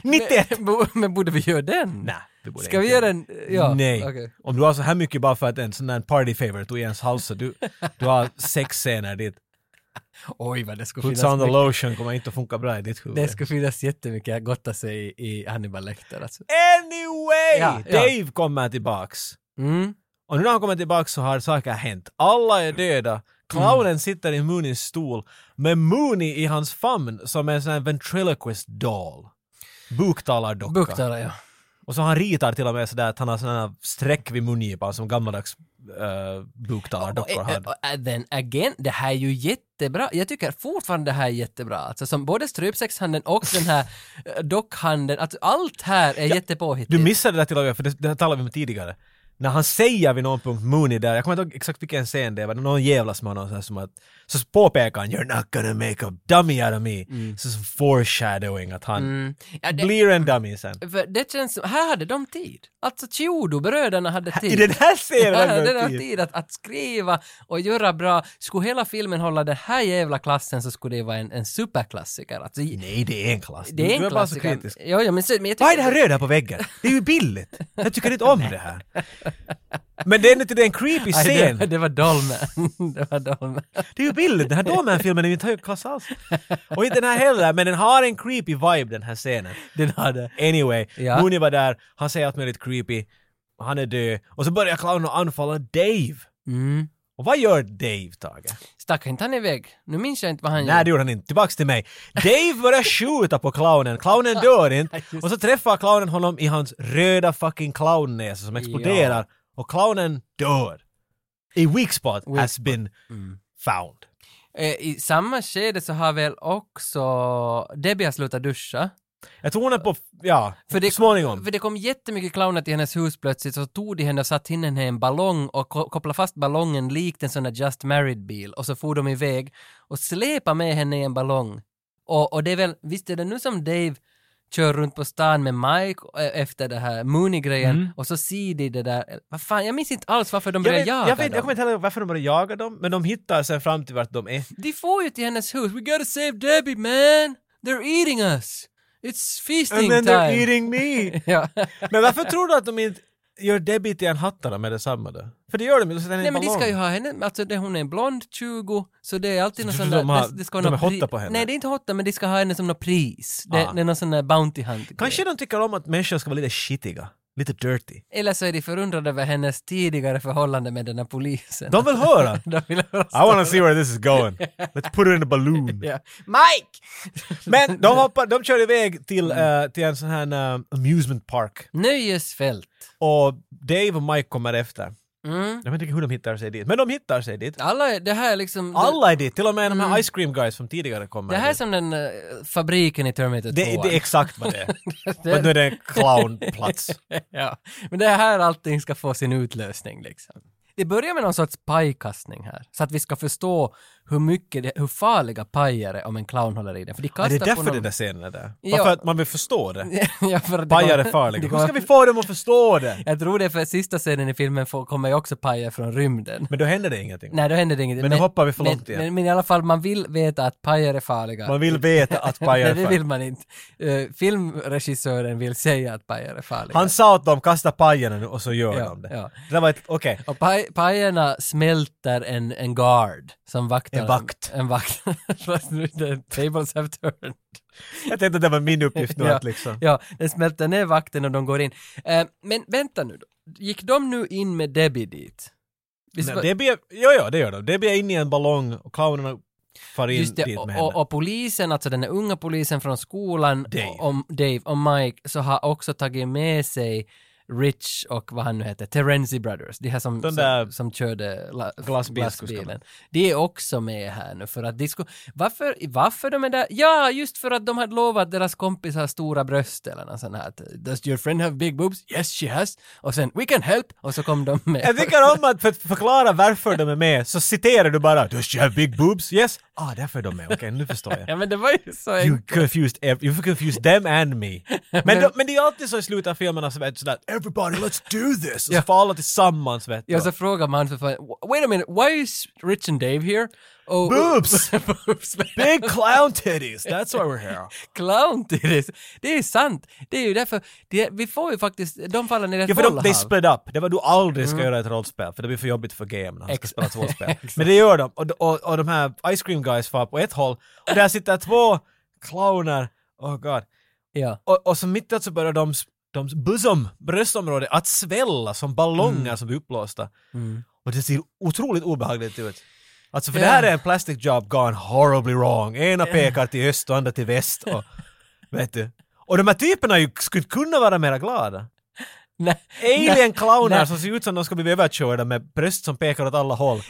91!
Bo- Men borde vi göra den?
Nej, det borde
Ska
jag
vi
inte
göra den? Ja,
Nej.
okej.
Om du har så här mycket bara för att en sån där party favor tog i ens hals så du, du har sex scener dit.
Oj, vad det skulle
Puts
finnas
on the
mycket.
lotion kommer inte att funka bra i ditt huvud.
Det skulle finnas jättemycket att gotta sig i, i Hannibal Lecter alltså.
Anyway!
Ja, ja.
Dave kommer tillbaks.
Mm.
Och nu när han kommer tillbaks så har saker hänt. Alla är döda. Clownen
Mm.
sitter i Moonies stol med Mooney i hans famn som en sån här ventriloquist doll. Buktalardocka.
Buktalar jag.
Och så han ritar till och med sådär att han har sådana här streck vid mungipan som gammaldags uh, buktalardockor
Och, eh,
hade.
och, eh, Then again, det här är ju jättebra. Jag tycker fortfarande det här är jättebra. Alltså som både strypsexhandeln och den här eh, dockhandeln, alltså allt här är jättepåhittigt.
Du missade det där till och med, för det, det här talade vi om tidigare. När han säger vid någon punkt Mooney där, jag kommer inte ihåg exakt vilken scen det var, någon jävlas med honom så här som att, så påpekar han “You're not gonna make a dummy out of me”.
Mm.
Så som foreshadowing att han
ja, det,
blir en dummy sen.
för det känns som, här hade de tid. Alltså Chiodo-bröderna hade tid.
I den här scenen
Ja,
hade
den har
han tid!
tid att, att skriva och göra bra. Skulle hela filmen hålla den här jävla klassen så skulle det vara en, en superklassiker. Alltså,
Nej, det är en klass.
det är
du
en
är bara så
klassiker.
kritisk.
Jo, jo, men, så- men jag
Vad är
tycker-
det här röda på väggen? Det är ju billigt! Jag tycker inte om det här. Men det är inte det är en creepy
Aj,
scen.
Det, det var Dolmen. det var Dolmen.
Det är ju billigt, den här Doorman-filmen är ju inte hög klass alls. Och inte den här heller, men den har en creepy vibe den här scenen.
Den hade.
Anyway,
Ja.
Mooney var där, han säger allt möjligt creepy, han är död. Och så börjar clownen anfalla Dave.
Mm.
Och vad gör Dave, Tage?
Stack inte han iväg? Nu minns jag inte vad han
Nej, det
gjorde.
gjorde han inte. Tillbaks till mig. Dave börjar skjuta på clownen, clownen dör inte. Och så träffar clownen honom i hans röda fucking clownnäsa som exploderar. Och clownen dör. a weak spot
Weak Mm.
has been found.
Eh, I samma skede så har väl också Debbie har slutat duscha.
Jag tror hon är på, ja,
För det,
småningom.
För det kom jättemycket clowner till hennes hus plötsligt, så tog de henne och satte in henne i en ballong och ko- kopplade fast ballongen likt en sån där Just Married-bil och så for de iväg och släpade med henne i en ballong. Och, och det är väl, visst är det nu som Dave kör runt på stan med Mike eh, efter det här Mooney-grejen och så ser de det där, vad fan, jag minns inte alls varför de
Mm. Jag,
började jaga
vet, jag, vet, jag
dem.
kommer inte heller ihåg varför de började jaga dem, men de hittar sen fram till vart de är.
De får ju till hennes hus, we gotta save Debbie man! They're eating us! It's feasting
And then
time!
they're eating me!
ja.
Men varför tror du att de inte gör Debbie till en hattare med detsamma då? För det gör de ju, de sätter henne
Nej
i en
men de
ballong.
ska ju ha henne, alltså det, hon är en blond 20, så det är alltid någon
Så
sån
de
där...
har-
det- det ska
de
någon
är
pri-
hotta på henne?
Nej det är inte hotta, men de ska ha henne som något pris. Det,
Ah.
det är någon sån där Bounty Hunt.
Kanske de tycker om att människor ska vara lite skitiga, lite dirty.
Eller så är de förundrade över hennes tidigare förhållande med den här polisen.
De vill höra!
De vill höra
I wanna see where this is going. Let's put it in a balloon.
Ja. Mike!
Men de, hoppar, de kör iväg till,
Mm.
eh, till en sån här eh, amusement park.
Nöjesfält.
Och Dave och Mike kommer efter.
Mm.
Jag vet inte hur de hittar sig dit, men de hittar sig dit.
Alla, är- det här är liksom...
Alla är dit, till och med de här ice cream guys som tidigare kommer.
Det här är
dit.
som den eh, fabriken i Terminator 2.
det, det är exakt vad det är. Men nu är det en clownplats.
ja. Men det är här allting ska få sin utlösning liksom. Det börjar med någon sorts pajkastning här, så att vi ska förstå hur mycket, det, hur farliga pajer är om en clown håller i den. För de kastar
Men det är
på
därför
någon...
den där scenen är där.
Ja.
Varför att man vill förstå det.
ja, för att det
Pajar är
kommer- det
farliga. Hur
kommer-
ska vi få dem att förstå det?
Jag tror det är för sista scenen i filmen får, kommer ju också pajer från rymden.
Men då händer det ingenting.
Nej, då händer det inget.
Men nu hoppar vi för
men,
långt igen.
Men, men i alla fall, man vill veta att pajer är farliga.
Man vill veta att pajar
Nej,
är
det
farliga.
vill man inte. Eh, filmregissören vill säga att pajer är farliga.
Han sa att de kastar pajerna nu och så gör
Ja,
de det.
ja.
Det där var ett, okej.
Och paj, pajerna smälter en, en guard som vaktar
En vakt.
En vakt. Fast nu the tables have turned.
Jag tänkte att det var min uppgift nu
Ja.
att liksom...
Ja, den smälter ner vakten och de går in. Eh, men vänta nu då. Gick de nu in med Debbie dit? Visst
Nej,
var-
det blir, jo, jo, det gör de. Det blir in i en ballong och clownerna far in
Just det,
dit
och,
med
och,
henne.
och polisen, alltså den här unga polisen från skolan,
Dave.
Och, och Dave och Mike, så har också tagit med sig Rich och vad han nu heter, Terenzi Brothers, de här som,
De där
som, som körde la,
glassbilskuskarna.
glassbilen. De är också med här nu för att de skulle, varför, varför de är där? Ja, just för att de hade lovat deras kompis har stora bröst eller något sånt här. att, Does your friend have big boobs? Yes she has. Och sen, we can help! Och så kom de med.
Jag tycker om att för att förklara varför de är med så citerar du bara “Does you have big boobs?” Yes? Ah, därför är de med. Okej, nu förstår jag.
Ja men det var ju så
You confused, ev- you confused them and me. Men, de, men det är alltid så i slutet av filmerna så vet du sådär “Everybody, let's do this!” Och så får alla tillsammans vet du.
Ja, så frågar man för fan, wait a minute, why is Rich and Dave here? Och,
Boobs!
boobs!
Big clown titties, that's why we're here.
Clown till det. Det är sant. Det är ju därför, det, vi får ju faktiskt, de faller ner i ett
Ja, för de,
bollhav.
they split up. Det var du aldrig ska göra ett rollspel, för det blir för jobbigt för game när han ska
Mm. Ex-
spela två spel.
Exakt.
Men det gör de. Och, och, och de här Ice Cream Guys far på ett håll, och där sitter två clowner. Oh god.
Ja.
Och, och så mitt i allt så börjar de, de bosom, bröstområde, att svälla som ballonger
Mm.
som blir uppblåsta. Och det ser otroligt obehagligt ut. Alltså för det här
Ja.
är en plastic job gone horribly wrong. Ena pekar till öst och andra till väst. Och, vet du. Och de här typerna ju skulle inte kunna vara mera glada.
Nej.
Alien clowner
nej.
som ser ut som de ska bli överkörda med bröst som pekar åt alla håll.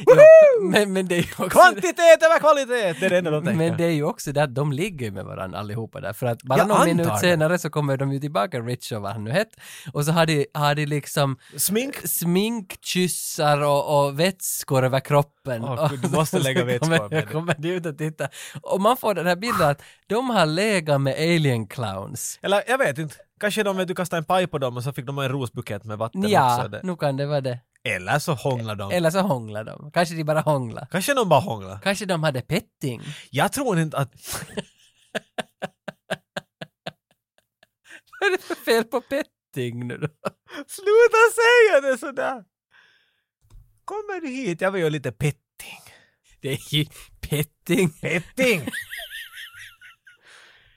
Men, men det är ju också...
Kvantitet över kvalitet! Det är det enda de tänker.
Men det är ju också det att de ligger ju med varandra allihopa där, för att bara
Jag
någon
antar
minut
det.
senare så kommer de ju tillbaka, Rich och vad han nu hette, och så har de, har de liksom
Smink?
sminkkyssar och, och vätskor över kroppen.
Åh, gud, du måste lägga
Så
vätskor
kommer-
med det.
kommer de ut och titta. Och man får den här bilden att de har legat med alien clowns.
Eller jag vet inte. Kanske de vet, du kastade en paj på dem och så fick de en rosbukett med vatten
Ja,
också. Det.
nu kan det vara det.
Eller så hånglar de.
Eller så hånglar de. Kanske de bara hånglar.
Kanske de bara hånglar.
Kanske de hade petting.
Jag tror inte att...
Vad är det för fel på petting nu då?
Sluta säga det sådär! Kommer du hit? Jag vill göra lite petting.
Det är ju petting.
Petting!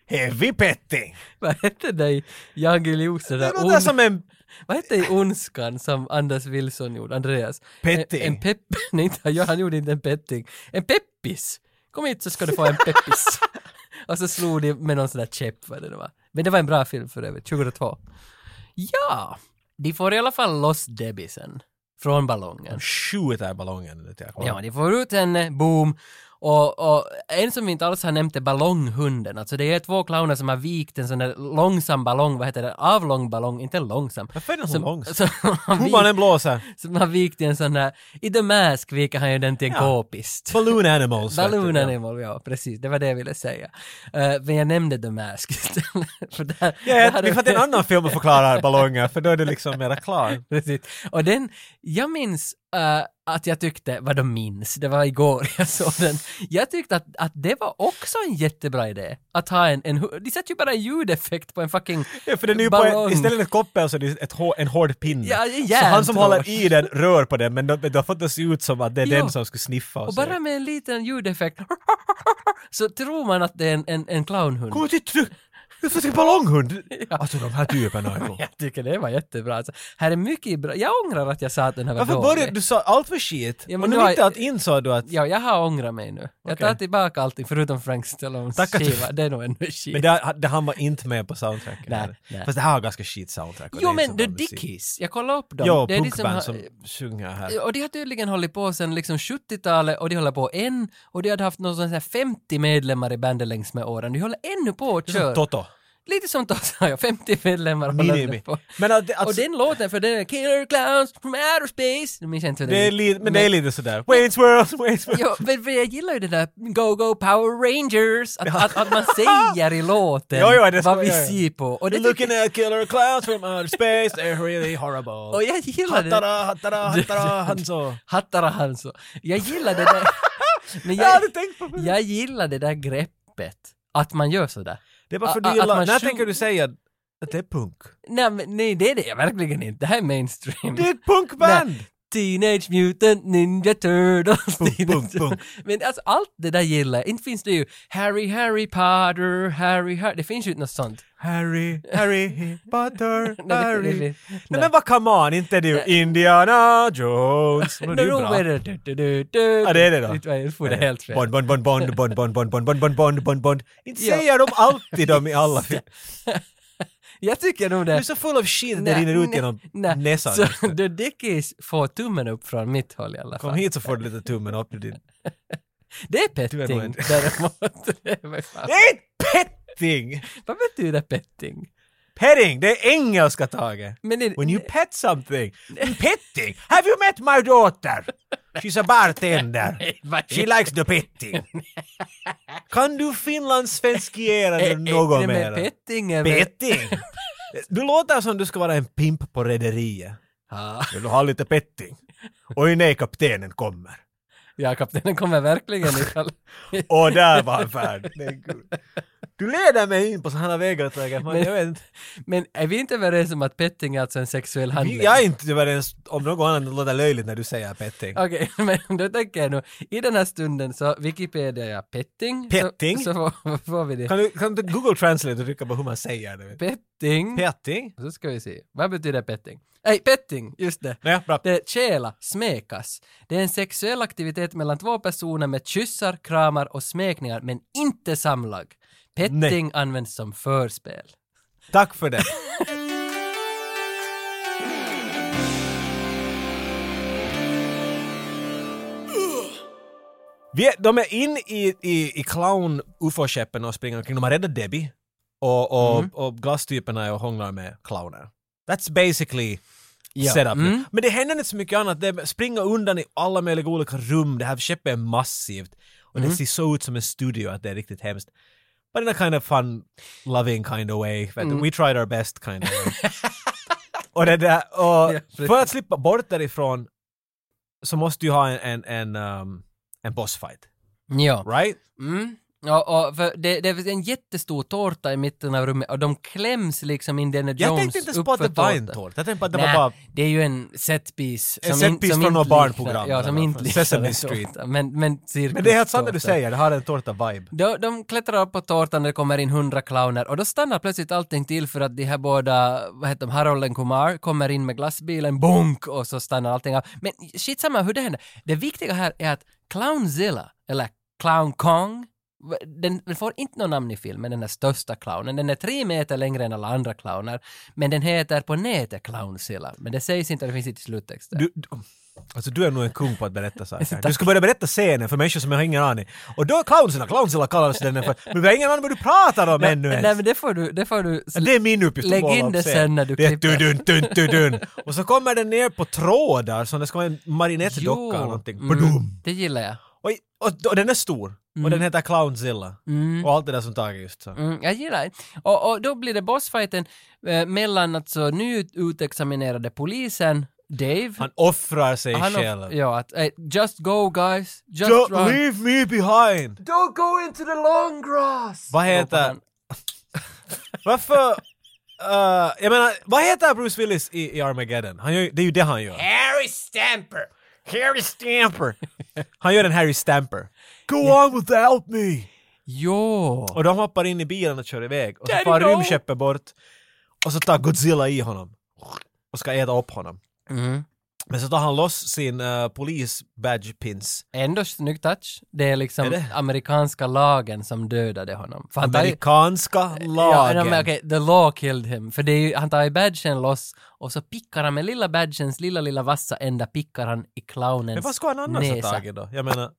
Heavy petting!
Vad hette det? Jag Eliose,
Det
där
låter som en...
Vad hette det i Ondskan som Anders Wilson gjorde, Andreas?
Petting.
En, en pepp... Nej, inte, ja, han gjorde inte en petting. En peppis! Kom hit så ska du få en peppis. och så slog de med någon sån där käpp, vad det nu var. Men det var en bra film för övrigt, 2002. Ja! De får i alla fall loss Debbie sen. från ballongen.
De skjuter ballongen nu till akvarien.
Ja, de får ut henne, boom. Och, och en som vi inte alls har nämnt är ballonghunden. Alltså det är två clowner som har vikt en sån där långsam ballong, vad heter det, avlång ballong, inte långsam.
Varför är den så
Som-
långsam?
som har
Hur man än
vikt-
blåser.
Som har vikt i en sån där, i The Mask viker han ju den till en
Ja.
k-pist.
Balloon animals. vet du,
Balloon
ja.
Animal, ja precis, det var det jag ville säga. Eh, men jag nämnde The Mask istället. för där,
Ja,
där
jag-
hade
vi får
vi-
till en annan film och förklara ballonger, för då är det liksom mera klar.
Precis. Och den, jag minns eh, att jag tyckte, vad de minns, det var igår jag såg den. Jag tyckte att, att det var också en jättebra idé. Att ha en, en hu- de sätter ju bara en ljudeffekt på en fucking
Ja, för den är ju på
ballong.
en, istället för ett koppel så är det ett hår, en hård pinne.
Ja, en
så han som
järntråd.
håller i den rör på den, men det de har fått det att se ut som att det är
Ja.
den som skulle sniffa och,
och
så.
bara med en liten ljudeffekt så tror man att det är en, en, en clownhund.
Kom och titta! du- Du får se ballonghund! Alltså de här typerna är ju-
Jag tycker det var jättebra. Alltså, här är mycket bra. Jag ångrar att jag sa att den här var
Varför
dålig.
började du sa allt för shit?
Ja, men
och nu
nu har
mitt i
jag-
allt insåg du att...
Ja, jag har ångrat mig nu. Jag tar
Okej.
tillbaka allting förutom Frank Stallones
Tack att du-
skiva. Det är nog ännu shit.
Men där, där han var inte med på soundtracken.
Nej,
heller.
nej.
Fast det här har ganska shit soundtrack. och det
Jo
är inte
men
så
The
bra musik.
Dickies, jag kollade upp dem.
Ja,
det är liksom- de som har-
punkband som, sjunger här.
Och de har tydligen hållit på sedan liksom 70-talet och de håller på än och de hade haft någon sån här 50 medlemmar i bandet längs med åren. De håller ännu på och
Det är som
kör.
Toto.
Lite som Totta, ja. 50 medlemmar håller de
Minimi.
på.
Men att, alltså-
och
att,
den låten för den är Killer Clowns from Outer Space. Nu minns jag inte hur den
det är
gick.
lite, men det är lite sådär. Wayne's World, Wayne's World.
Jo, men för jag gillar ju det där Go Go Power Rangers, att, att, att man säger i låten
Jo, jo, det ska-
vad vi
jo, jo.
ser på. Och, det
They're looking
tycker,
at killer clowns from outer space, they're really horrible.
och Oh, jag gillar det.
Hattara, hattara, hattara, han så.
Hattara Hanso. Jag gillar det där. Men
Jag
jag,
hade tänkt på det.
jag gillar det där greppet. Att man gör sådär.
Det är bara för
a-
du
a-
gillar...
att man sjung-
När tänker du säga att det är punk?
Nej, men, nej det är det jag verkligen inte. Det här är mainstream.
Det är ett punkband!
Teenage Mutant Ninja Turtles.
Punk,
Teenage-
punk, punk.
Men alltså allt det där gillar jag. Inte finns det ju Harry, Harry Potter, Harry, Harry. Det finns ju inte något sånt.
Harry, Harry Potter,
Nej, det-
Harry.
det- det-
Nej,
nej.
men vad come on, inte det är ju Indiana Jones. Men det är ju bra.
Ja,
Ja, det är det då.
Jag får det helt fel.
Bond, Bond, Bond, Bond, Bond, Bond, Bond, Bond, Bond, Bond, Bond, Bond, Bond. Inte säger de alltid dem i alla filmer.
Jag tycker nog det.
Du är så full av shit att det rinner ut genom
nej.
näsan.
Så The Dickies får tummen upp från mitt håll i alla
Kom
fall.
hit så får du lite tummen upp i din...
Det är
Du är nog
petting
inte-
däremot. Det är väl fan-
Det är inte petting!
Vad betyder petting?
Petting, det är engelska taget.
Men det,
When you pet something. Petting! Have you met my daughter? She's a bartender.
Vad
She
heter-
likes the petting. Kan du finlandssvenskiera det
Nej,
något
men
mer?
Petting är väl-
Petting! Du låter som du ska vara en pimp på rederiet.
Ja,
Vill du ha lite petting? Oj nej, kaptenen kommer.
ja, kaptenen kommer verkligen ifall...
Och där var han färdig. Men gud. Du leder mig in på sådana vägar, Tage. Man,
Men-
jag vet inte.
Men är vi inte överens om att petting är alltså en sexuell handling?
Jag är inte överens om något annat låter löjligt när du säger petting.
Okej, men då tänker jag nu, i den här stunden så Wikipedia är petting.
Petting?
Så, så får, får vi det.
Kan du, kan du Google Translate och trycka på hur man säger det?
Petting.
Petting?
Så ska vi se. Vad betyder petting? Nej, petting, just det.
Nej, bra.
Det är tjäla, smekas. Det är en sexuell aktivitet mellan två personer med kyssar, kramar och smekningar, men inte samlag. Petting används som förspel.
Tack för det. Vi är, de är in i, i, i clown-ufo-skeppen och springer omkring. De har räddat Debbie och, och, och glasstyperna är och hånglar med clowner. That's basically
Ja.
setup.
Mm.
Men det händer inte så mycket annat. Det är springa undan i alla möjliga olika rum. Det här skeppet är massivt. Och
Mm.
det ser så ut som en studio att det är riktigt hemskt. But in a kind of fun, loving kind of way. Vet du,
Mm.
We tried our best kind of way. och det där, och
precis.
för att slippa bort därifrån så måste du ha en, en, en, um, en bossfight.
Ja.
Right?
Mm. Ja, och för det, det är en jättestor tårta i mitten av rummet och de kläms liksom Indiana Jones
Jag tänkte inte ens på att det
uppför
var en
tårtan.
tårta. Jag tänkte på att det
Nej,
var bara...
det är ju en setpiece.
En
som
set
in-
piece
som
från
inte
något barnprogram
liknar-
eller
Ja, som
vad
inte
fan.
liknar
Sesame
en
Street.
tårta, Men, men
Men det är helt sant det
cirkustårta.
du säger, det har en tårta-vibe.
De, de klättrar upp på tårtan när det kommer in hundra clowner och då stannar plötsligt allting till för att de här båda, vad heter de, Harold och Kumar kommer in med glassbilen, bonk, och så stannar allting av. Men skitsamma hur det händer. Det viktiga här är att Clownzilla, eller Clown Kong, v- den, den får inte något namn i filmen, den här största clownen. Den är tre meter längre än alla andra clowner, men den heter på nätet Clownzilla. Men det sägs inte, det finns inte i sluttexten.
Du, du, alltså du är nog en kung på att berätta
Alltså,
saker. Du ska börja berätta scenen för människor som har ingen aning. Och då Clownsilla, Clownsilla kallas den för. Men vi har ingen aning vad du pratar om ännu
nej,
ens.
nej, men det får du... Det får du
det är min uppgift
Lägg
att måla
in
upp
det
scenen.
sen när du
Det är
klipper.
tudun, tudun, tudun. Och så kommer den ner på trådar som det ska vara en
Jo.
marionettdocka eller någonting.
Mm,
Badum.
det gillar jag.
Och, och, och den är stor. Och den heter Clownzilla. Och allt det där som Tage just sa.
Mm, jag gillar det. Och, och då blir det bossfighten eh, mellan alltså nyutexaminerade polisen, Dave.
Han offrar sig
han och-
själv.
ja, att, eh, just go guys, just
Don't
run.
leave me behind!
Don't go into the long grass!
Vad
ropar
heter...
han.
Varför... eh, jag menar, vad heter Bruce Willis i, i Armageddon? Han gör, ju- det är ju det han gör.
Harry Stamper!
Harry Stamper! han gör en Harry Stamper. Go on without me!
Jo!
Och de hoppar in i bilen och kör iväg. Och så
Daddy,
far
no.
rymdskeppet bort. Och så tar Godzilla i honom. Och ska äta upp honom.
Mm.
Men så tar han loss sin uh, polis badge pins.
Ändå snygg touch. Det är liksom
Är det?
amerikanska lagen som dödade honom. För han tar ju-
Amerikanska
Ja,
lagen.
no, men okej, the law killed him. För det är ju, han tar ju badgen loss och så pickar han med lilla badgens lilla, lilla vassa ända pickar han i clownens
men vad ska han annars ha
näsa.
tagit då? Jag menar,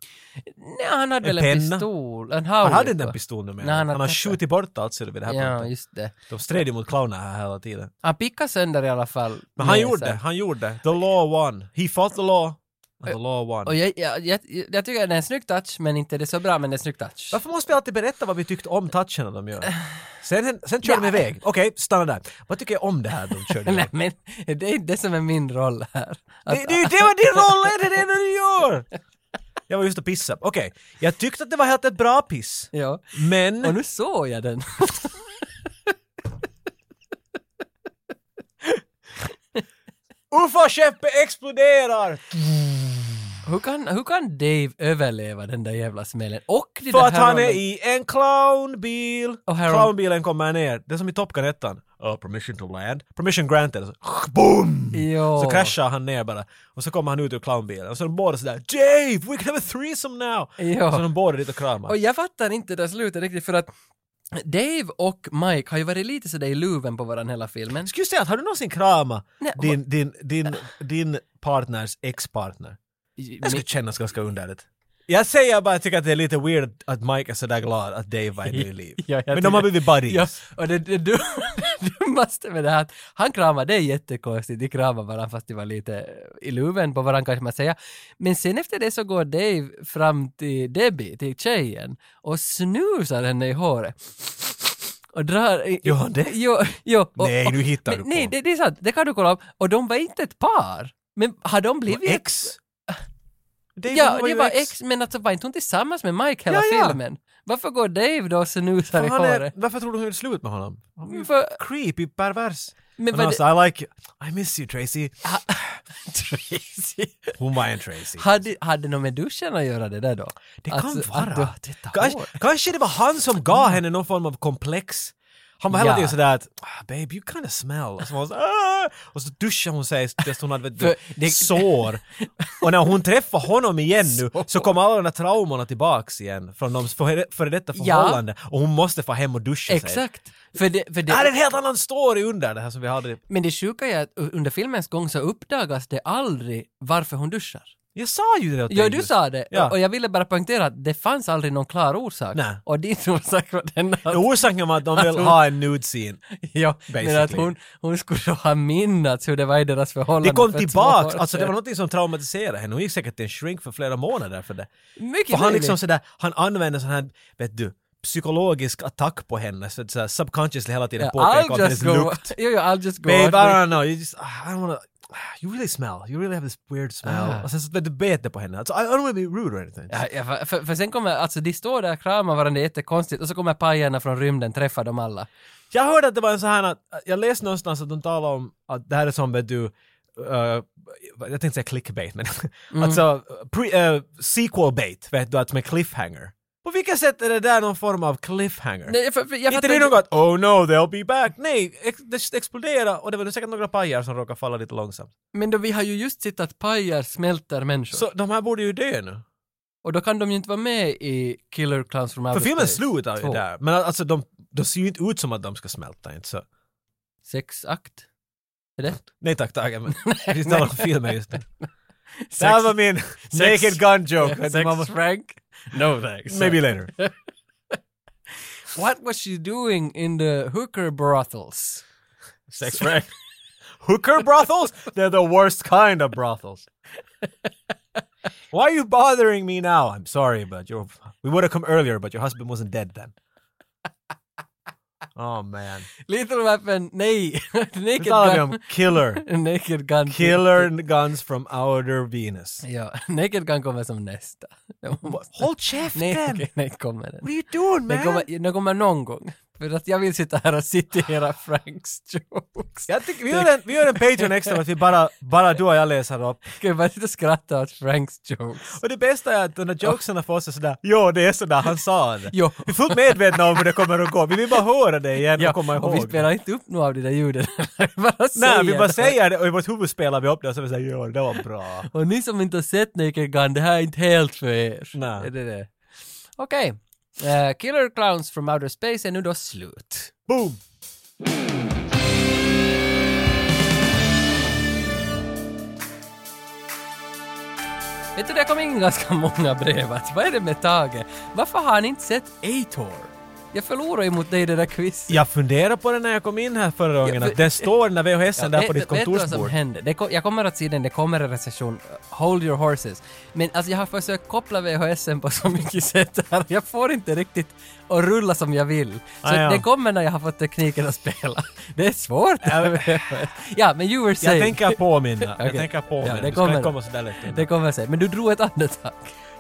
Nej, han hade
En
väl en
penna?
pistol. En
han hade
haulitva.
den där pistolen med
Nej, han
Han,
har
han har
tappat.
skjutit bort allt ser du vid det här
Ja,
punkten.
just det.
De stred ju mot clowner här hela tiden.
Han pickade sönder i alla fall.
Men han
näsan.
gjorde det, han gjorde det. The law won. He fought the law. and The law won.
Och jag, jag, jag, jag tycker det är en snygg touch, men inte det är så bra, men det är en snygg touch.
Varför måste vi alltid berätta vad vi tyckte om toucherna de gör? Sen, sen kör de
Ja.
iväg. Okej, stanna där. Vad tycker jag om det här de körde
Nej,
iväg?
men det är inte det som är min roll här.
Det, det, är ju det var din roll är, det är det du gör! Jag var just och pissade. Okej, jag tyckte att det var helt ett bra piss.
Ja.
Men...
Och nu såg jag den.
Uffa-skeppet exploderar!
Hur kan, hur kan Dave överleva den där jävla smällen? Och det
För
där
att han är
häromen-
i en clownbil!
Och här Oh, har-
Clownbilen kommer ner. Det är som i Top Gun 1. Uh, permission to land. Permission granted. Och Så, boom!
Jo.
Så kraschar han ner bara. Och så kommer han ut ur clownbilen. Och så är de båda sådär Dave! We can have a threesome now!
Ja.
Och så är de båda dit och kramar.
Och jag fattar inte det där slutet riktigt för att Dave och Mike har ju varit lite sådär i luven på varandra hela filmen.
Skulle säga att har du någonsin kramat
Nej,
din, din, din, din partners ex-partner? Det skulle
Men-
kännas ganska underligt. Jag säger bara att jag tycker att det är lite weird att Mike är sådär glad att Dave var i liv.
Ja, jag
Men de
tycker-
har blivit buddies.
Ja, och det, det, du, det dummaste med det här att han kramar, det är jättekonstigt, de kramar varandra fast de var lite i luven på varandra kanske man säger. Men sen efter det så går Dave fram till Debbie, till tjejen, och snusar henne i håret. Och drar... i-
Gör han det?
Jo, jo. Och,
Nej,
och-
nu hittar
men,
du på.
Nej, det, det är sant, det kan du kolla upp. Och de var inte ett par. Men har de blivit... ett-
Ex? Dave
Ja,
ju
det var ex, men alltså var inte hon tillsammans med Mike hela
Ja, ja.
filmen? Varför går Dave då och snusar i
Han är,
håret?
varför tror du hon gjorde slut med honom? Han är
För-
creepy, pervers.
Men
Men
vad
han sa I like you. I miss you Tracy.
Tracy.
Hon var en Tracy.
Hade, hade någon med duschen att göra det där då?
Det
Att-
kan
alltså, att
vara.
du har tittat
kanske,
hår.
kanske det var han som gav henne någon form av komplex. Han var hela
Ja.
tiden sådär att ah, “babe, you kinda smell” och så, var hon så, "Ah!" och så duschade hon sig tills hon hade vet du,
För det-
sår. Och när hon träffade honom igen nu så kom alla de där traumorna tillbaks igen från de före, före detta
Ja.
förhållande och hon måste få hem och duscha sig.
Exakt. För det, för
Det här är en
det,
helt annan story under det här som vi hade.
men det sjuka är att u- under filmens gång så uppdagas det aldrig varför hon duschar.
Jag sa ju det åt dig
Ja, du
just.
sa det.
Ja.
Och- Och jag ville bara poängtera att det fanns aldrig någon klar orsak.
Nej.
Och din orsak var den att...
Orsaken var att de vill
Att hon-
ha en nude scene.
ja, men att
Basically.
hon, hon skulle då ha minnats hur det var i deras förhållande
Det kom
för två
tillbaks,
år
alltså det
sedan.
var något som traumatiserade henne. Hon gick säkert till en shrink för flera månader för det.
Mycket
För han
möjligt.
liksom sådär, han använder sån här, vet du, psykologisk attack på henne, så att såhär subconsciously hela tiden
Ja,
påpekar
I'll
om
just
hennes
go...
lukt.
Jo, jo, I'll just go...
Babe, I
out with-
don't know, you just, ah, I don't wanna, you really smell, you really have this weird smell.
Ah.
Och sen så vet du, bet det på henne. Alltså, I don't wanna be rude or anything.
Ja, ja, för- för, för sen kommer, alltså de står där och kramar varandra jättekonstigt och så kommer pajarna från rymden träffa dem alla.
Jag hörde att det var en sån här, att, jag läste någonstans att de talade om att det här är som vet du, eh, jag tänkte säga clickbait men
Mm.
alltså pre, eh, sequel bait, vet du, att med cliffhanger. På vilket sätt är det där någon form av cliffhanger?
Nej, för, för, jag fattar
inte det något “Oh no, they'll be back”? Nej, ex- det s- explodera och det var nog säkert några pajar som råkade falla lite långsamt.
Men då, vi har ju just sett att pajar smälter människor.
Så de här borde ju dö nu.
Och då kan de ju inte vara med i Killer Clowns from Outer
För filmen
Space
slutar ju
två.
där. Men alltså de, de ser ju inte ut som att de ska smälta inte så.
Sex akt? Är det?
Nej tack Tage, men vi talar om filmen just nu.
Sex,
Det här var min naked gun joke.
Yeah,
Man
sex
var-
Frank? No thanks.
Maybe later.
What was she doing in the hooker brothels?
Sex Frank. Hooker brothels? They're the worst kind of brothels. Why are you bothering me now? I'm sorry, but you're, we would have come earlier, but your husband wasn't dead then. Oh man.
Little Weapon, nej.
Nu
Naked
talar vi
Gun.
om Killer.
Naked Gun.
Killer Guns from Outer Venus.
Ja, Naked Gun kommer som nästa.
Håll käften!
Nej, okej, nej, kommer den.
What are you doing
Den
man?
kommer, den kommer någon gång. För att jag vill sitta här och citera Franks jokes.
Jag tycker, vi, gör en, vi gör en Patreon extra för att vi bara, bara du och jag läser upp.
Ska vi bara sitta och skratta åt Franks jokes?
Och det bästa är att de där jokesen för oss är sådär, jo det är sådär han sa det.
Jo.
Vi är fullt medvetna om hur det kommer att gå, vi vill bara höra det igen och komma ihåg.
och vi spelar inte upp några av de där ljuden. Vi bara
Nej, vi
säger
bara
det.
säger det och i vårt huvud spelar vi upp det och så vi säger jo det var bra.
Och ni som inte har sett Naked Gun, det här är inte helt för er.
Nej.
Är det det? Okej. Eh, Killer Clowns from Outer Space är nu då slut.
Boom!
Vet du, det kom in ganska många brev att vad är det med Tage? Varför har han inte sett A-Tor? Jag förlorade ju mot dig i det där quizet.
Jag funderade på det när jag kom in här förra gången,
för-
att det står den där VHSen där på ditt
vet du vad som
kontorsbord.
hände? Det ko- jag kommer att se den, det kommer en recension. Uh, Hold your horses. Men alltså jag har försökt koppla VHSen på så mycket sätt här. Jag får inte riktigt att rulla som jag vill. Så
Ah, ja.
det kommer när jag har fått tekniken att spela. Det är svårt. ja, men you were saying.
Jag tänker påminna, jag
Okej.
tänker påminna.
Ja,
det
det
kommer. Du ska
kommer.
inte komma sådär lätt
Det
undan.
kommer sig. Men du drog ett andetag.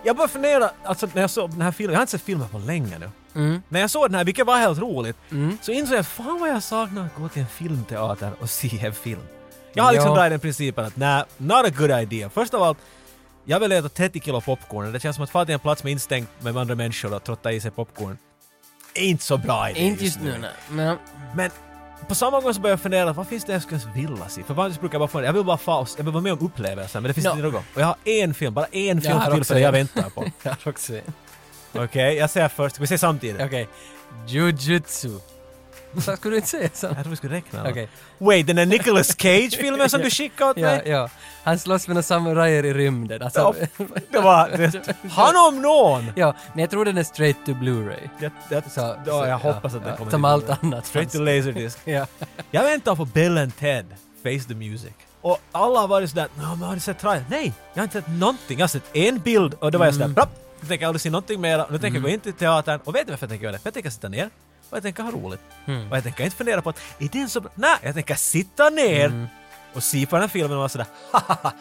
Jag bara funderar, alltså när jag såg den här filmen, jag har inte sett filmen på länge nu.
Mm.
När jag såg den här, vilket var helt roligt, så insåg jag att fan vad jag saknar att gå till en filmteater och se en film. Jag har liksom
Ja.
dragit den principen att nej, not a good idea. Först av allt, jag vill äta 30 kilo popcorn. Det känns som att fara till en plats med instängt med andra människor och trotta i sig popcorn. Är inte så bra idé
Inte just nu, nej. Men,
Men på samma gång så börjar jag fundera, vad finns det jag skulle vilja se? För vanligtvis brukar jag bara få jag vill bara få, jag vill vara med om upplevelsen, men det finns
No.
inte något. Och jag har en film, bara en film
har
till
också
som jag
en.
väntar på.
jag har också en.
Okej, jag säger först. Ska vi säga samtidigt?
Okej. Jujutsu. Så skulle du inte säga så?
Jag tror vi skulle räkna. va?
Okej.
Wait, den där Nicolas Cage-filmen som
Ja.
du skickade åt
Ja,
mig?
ja. Han slåss med några samurajer i rymden. Alltså,
Ja, Det var... Det, han om någon!
Ja, men jag tror den är straight to Blu-ray.
Jag, jag,
Så-
ja,
så-
jag hoppas
ja,
att den
ja,
kommer
Som
dit.
allt annat.
Straight to
fanns.
Laserdisc.
Ja.
Jag väntar på Bill and Ted, Face the Music. Och alla har varit sådär, "Nå, men har du sett trailern? Nej, jag har inte sett någonting. Jag har sett en bild och då var jag
Mm.
sådär, "Bra, nu tänker jag aldrig se någonting mer. Nu tänker jag gå in till teatern och vet du varför jag tänker göra det? För jag tänker sitta ner och jag tänker ha roligt.
Mm.
Och jag tänker inte fundera på att, är den så bra? Nej, jag tänker sitta ner
Mm.
och se på den här filmen och vara sådär, haha,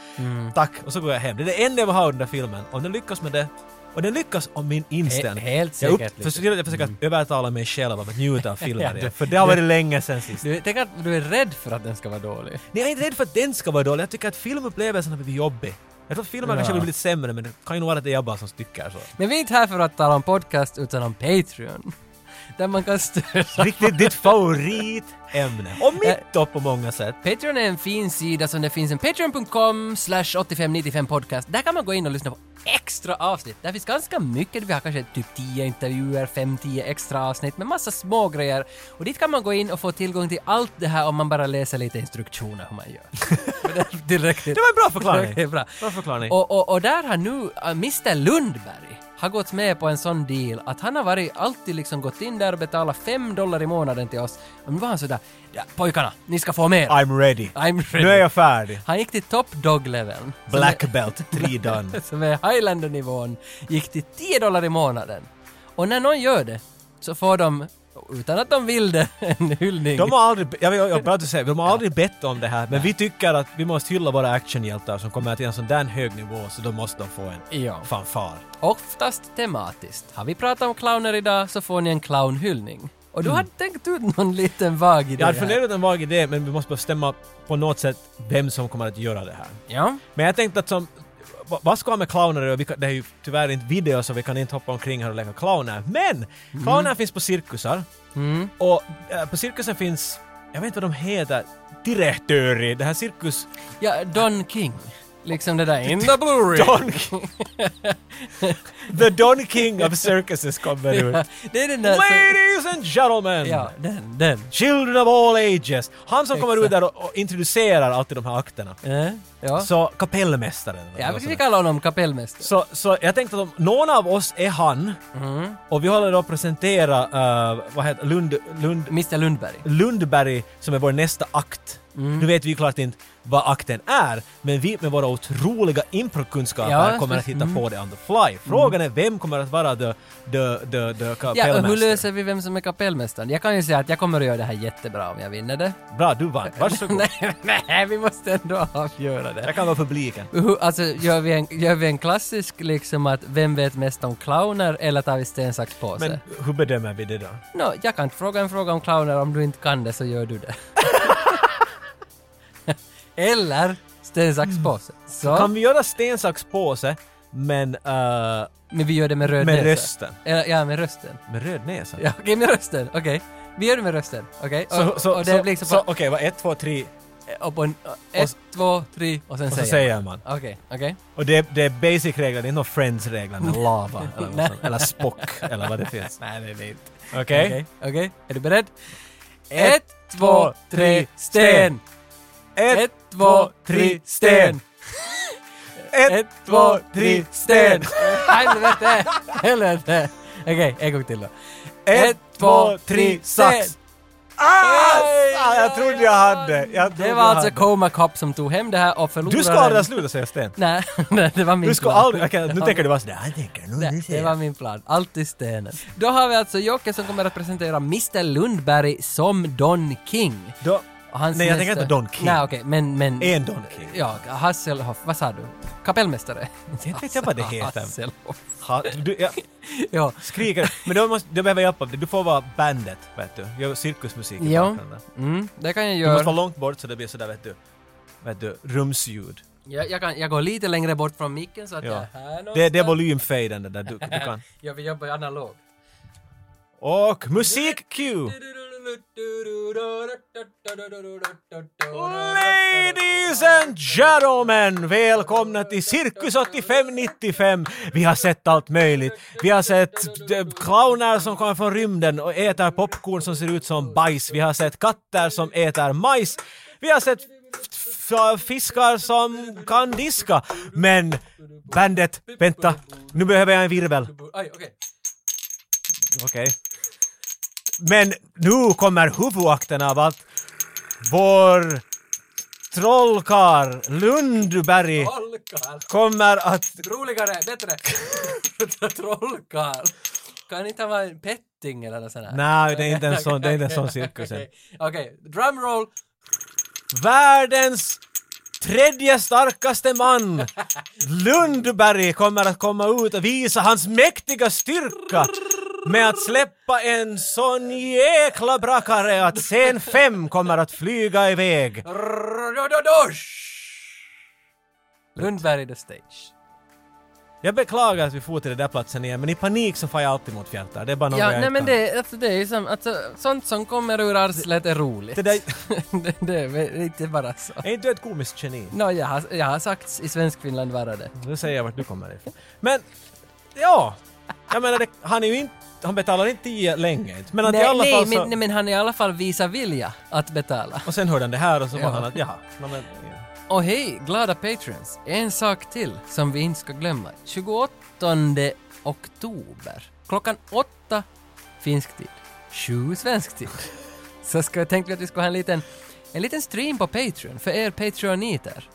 tack. Och så går jag hem. Det är det enda jag vill ha av den där filmen. Om den lyckas med det, och den lyckas om min inställning.
He- helt
jag, upp,
säkert lyckas.
försöker, jag försöker att övertala mig själv om att njuta av filmen
Ja, du-
igen. För det har
du-
varit länge sedan sist.
Du, tänk att du är rädd för att den ska vara dålig.
Nej, jag är inte rädd för att den ska vara dålig. Jag tycker att filmupplevelsen har blivit jobbig. Jag tror att filmen kanske har blivit sämre, men det kan ju nog vara att det är jag bara som tycker så.
Men vi är inte här för att tala om podcast utan om Patreon. Där man kan stödja
Riktigt ditt favoritämne. Och mitt då på många sätt.
Patreon är en fin sida som det finns en patreon.com slash 8595 podcast. Där kan man gå in och lyssna på extra avsnitt. Där finns ganska mycket. Vi har kanske typ 10 intervjuer, 5-10 extra avsnitt med massa små grejer. Och dit kan man gå in och få tillgång till allt det här om man bara läser lite instruktioner hur man gör. Men det är tillräckligt.
Det var en bra förklaring.
Det är bra.
Bra förklaring.
Och, och, och där har nu äh, Mr Lundberg har gått med på en sån deal att han har varit, alltid liksom gått in där och betalat 5 dollar i månaden till oss. Och nu var han sådär, ja, pojkarna, ni ska få mer.
I'm ready.
I'm ready.
Nu är jag färdig.
Han gick till top dog-leveln. som
Black
är-
belt, three done.
Som är Highlander-nivån. Gick till 10 dollar i månaden. Och när någon gör det så får de, utan att de vill det, en hyllning.
De har aldrig, jag vill, jag vill bara säga, de har aldrig bett om det här, men vi tycker att vi måste hylla våra actionhjältar som kommer till en sån där hög nivå, så då måste de få en
Ja.
fanfar.
Oftast tematiskt. Har vi pratat om clowner idag så får ni en clownhyllning. Och du har tänkt ut någon liten vag idé
Mm. Jag hade
här.
funderat en vag idé, men vi måste bestämma på något sätt vem som kommer att göra det här.
Ja.
Men jag tänkte att som... va- Vad ska man med clowner och vi kan, det är ju tyvärr inte video så vi kan inte hoppa omkring här och leka clowner. Men!
Mm.
Clowner finns på cirkusar. Och eh, på cirkusen finns, jag vet inte vad de heter, direktörer. Det här cirkus...
ja, Don King. liksom det där in the Blu-ray.
Don King. The Don King of Circuses kommer
Ja,
ut.
det är den där... som-
Ladies and gentlemen!
Ja, den, den.
Children of all ages. Han som kommer
Exakt.
ut där och, och introducerar alltid de här akterna.
Eh, Ja.
Så kapellmästaren.
Ja,
Eller
vi
sådär.
kan kalla honom kapellmästare.
så, så jag tänkte att om någon av oss är han och vi håller då att presentera eh, vad heter Lund, Lund,
Mr Lundberg.
Lundberg som är vår nästa akt.
Mm.
Nu vet vi ju klart inte vad akten är, men vi med våra otroliga improkunskaper
Ja,
kommer att
precis. Mm.
hitta på det on the fly. Frågan är vem kommer att vara the, the, the, the
Ja, och
kapellmästare?
hur löser vi vem som är kapellmästaren? Jag kan ju säga att jag kommer att göra det här jättebra om jag vinner det.
Bra, du vann. Varsågod.
Nej, nej, vi måste ändå avgöra det.
jag kan vara publiken.
Hur- Alltså, gör vi, en, gör vi en klassisk liksom att vem vet mest om clowner eller tar vi sten, sax, påse?
Men hur bedömer vi det då?
Nå, jag kan inte fråga en fråga om clowner, om du inte kan det så gör du det. eller sten, sax, påse. Så,
Kan vi göra sten, sax, påse, men eh,
men vi gör det med röd
med
näsa.
rösten?
Eller, ja, med rösten.
Med röd näsa?
Ja, okej, med rösten. Okej. Vi gör det med rösten. Okej?
Så,
Och,
så,
och det
så,
är liksom
så
på,
okej, vad ett, två, tre
och på en, ett, två, tre och sen
och så
säger
säger man.
man. Okej, okej.
Och det, det är basic-regler, det är inte några friends-regler, lava eller,
Mm. Nej.
något sånt, eller spock eller vad det finns.
Nej, det är det inte.
Okej?
Okej, okej. Är du beredd?
Ett,
Ett, två, tre, sten! Ett, två, tre, sten! Ett, två, tre, sten! Helvete! Helvete! Okej, en gång till då.
Ett, två, tre, sax! Ah! Ah, jag trodde jag hade! Jag trodde
Det var
jag
alltså
hade.
Coma Cop som tog hem det här och förlorade...
Du ska aldrig sluta säga sten.
Nej, nej, det var min
Du ska
plan.
aldrig... Okej, nu tänker du bara sådär, jag tänker nu, nu
Nej,
ser
det
jag.
var min plan. Allt i stenen. Då har vi alltså Jocke som kommer att presentera Mr Lundberg som Don King.
Då-
Och hans
Nej, jag tänker inte Don King.
Nej, okej, men... men
En Don King.
Ja, Hasselhoff, vad sa du? Kapellmästare?
Inte vet jag vad det heter.
Hasselhoff.
Ha, du, jag
Ja.
skriker. Men då, måste, då behöver jag hjälp av dig. Du får vara bandet, vet du. Gör cirkusmusik i
Ja,
bakgrunden.
mm, det kan jag
Du måste vara
göra.
långt bort så det blir sådär, vet du. Vet du, rumsljud.
Jag, jag, kan, jag går lite längre bort från micken så att jag
Ja.
är här någonstans.
Det, det är volymfaden där du, du kan.
Jag vill jobba analogt.
Och musik-cue! Ladies and gentlemen, välkomna till Cirkus 8595! Vi har sett allt möjligt. Vi har sett eh, clowner som kommer från rymden och äter popcorn som ser ut som bajs. Vi har sett katter som äter majs. Vi har sett f- f- fiskar som kan diska. Men bandet, vänta, nu behöver jag en virvel.
Aj, okej.
Okej. Men nu kommer huvudakten av att vår trollkarl Lundberg
Trollkarl.
kommer att...
Roligare, bättre. Trollkarl. Kan inte han vara en petting eller något sånt här?
Nej, det är inte en sån, det är inte en sån cirkus. än.
Okej, okay. drumroll.
Världens tredje starkaste man, Lundberg, kommer att komma ut och visa hans mäktiga styrka med att släppa en sån jäkla brakare att scen 5 kommer att flyga iväg.
Lundberg the stage.
Jag beklagar att vi får till den där platsen igen, men i panik så far jag alltid mot fjärtar. Det är bara något
Ja,
jag
nej
inte
men
kan.
det, alltså, det är ju som, alltså, sånt som kommer ur arslet är roligt.
Det där-
det, det är väl inte bara så.
Är inte du ett komiskt geni?
Nå, jag, har, jag har sagt i Svenskfinland vara det.
Då säger jag vart du kommer ifrån. Men, ja. Jag menar, det, han är ju inte... Han betalar inte tio länge inte. Men att i
Nej,
alla
nej,
fall så...
men, nej, men han i alla fall visar vilja att betala.
Och sen hörde han det här och så
Ja.
var han att, jaha. nå men, ja.
Och hej, glada patrons! En sak till som vi inte ska glömma. 28 oktober, klockan åtta finsk tid, sju svensk tid. Så ska jag tänkte att vi ska ha en liten, en liten stream på Patreon för er patreoniter.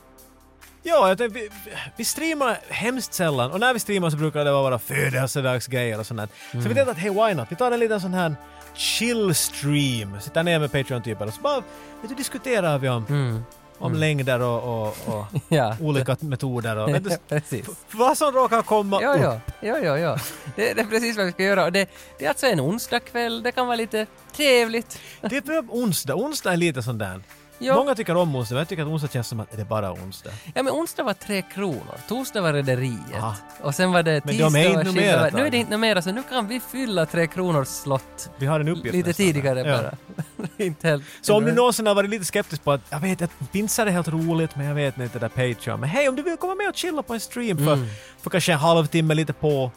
Ja, jag tänkte, vi, vi streamar hemskt sällan och när vi streamar så brukar det vara våra födelsedagsgrejer och sånt där. Så
Mm.
vi tänkte att hey why not, vi tar en liten sån här chill stream, sitter ner med Patreon-typer och så bara, vet du, diskuterar vi om,
Mm.
om längder och, och, och
Ja.
olika metoder och vet Oh, du,
Precis.
vad som råkar komma
Ja,
upp.
ja, ja, ja, ja. Det, det är precis vad vi ska göra. Och det, det är alltså en onsdagkväll, det kan vara lite trevligt.
Det är på onsdag, onsdag är lite sån där.
Ja.
Många tycker om onsdag, men jag tycker att onsdag känns som att är det bara onsdag.
Ja men onsdag var tre kronor, torsdag var Rederiet
Ah.
och sen var det
Men de
tisdag
är inte alltså.
var
numera,
skilda var... Nu är
Tage.
det inte numera så nu kan vi fylla tre kronors slott
Vi har en uppgift
lite
nästan där.
tidigare
alltså. Ja.
bara. inte helt...
Så om du någonsin har varit lite skeptisk på att jag vet att pinsar är helt roligt men jag vet inte det där Patreon. Men hej om du vill komma med och chilla på en stream för,
Mm.
för kanske en halvtimme lite på,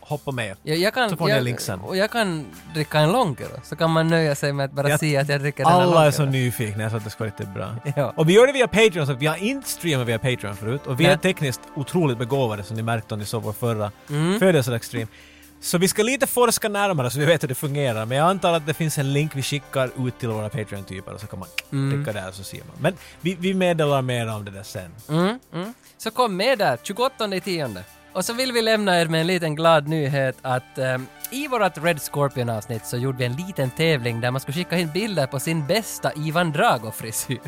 hoppa med.
jag, jag kan,
så får ni
jag,
linksen.
Och jag kan dricka en longero, så kan man nöja sig med att bara
Jag-
se att jag dricker den här
Alla är så
longero.
nyfikna så att det ska vara riktigt bra.
Ja.
Och vi gör det via Patreon, så vi har inte streamat via Patreon förut. Och vi är
Nej.
tekniskt otroligt begåvade som ni märkte om ni såg vår förra
Mm.
födelsedagsstream. Så vi ska lite forska närmare så vi vet hur det fungerar. Men jag antar att det finns en länk vi skickar ut till våra Patreon-typer och så kan man klicka där så ser man. Men vi, vi meddelar mer om det där sen.
Mm, mm. Så kom med där, 28 i tionde. Och så vill vi lämna er med en liten glad nyhet att ehm, i vårt Red Scorpion-avsnitt så gjorde vi en liten tävling där man skulle skicka in bilder på sin bästa Ivan Drago-frisyr.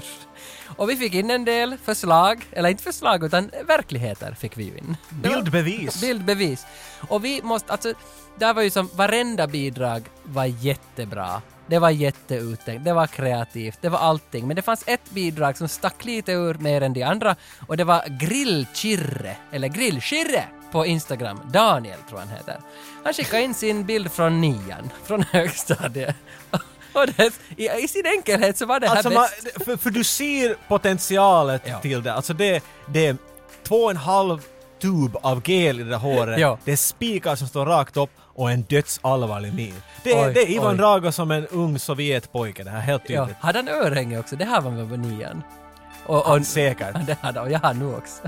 Och vi fick in en del förslag, eller inte förslag utan verkligheter fick vi ju in. Det var-
Bildbevis!
Bildbevis. Och vi måste, alltså, där var ju som varenda bidrag var jättebra. Det var jätteuttänkt, det var kreativt, det var allting. Men det fanns ett bidrag som stack lite ur mer än de andra och det var Grillchirre, eller Grillchirre på Instagram. Daniel tror han heter. Han skickade in sin bild från nian, från högstadiet. Och det, i, i sin enkelhet så var det här
Alltså, man,
bäst.
för, för du ser potentialet
Ja.
till det. Alltså det, det är två och en halv tub av gel i det där håret.
Ja.
Det är spikar som står rakt upp och en dödsallvarlig min. Det är,
Oj,
det är Ivan
oj.
Drago som en ung Sovjetpojke, det här helt
Ja,
tydligt.
hade han örhänge också? Det här var väl på nian? Och, och,
Säkert.
det hade han, och jag har nu också.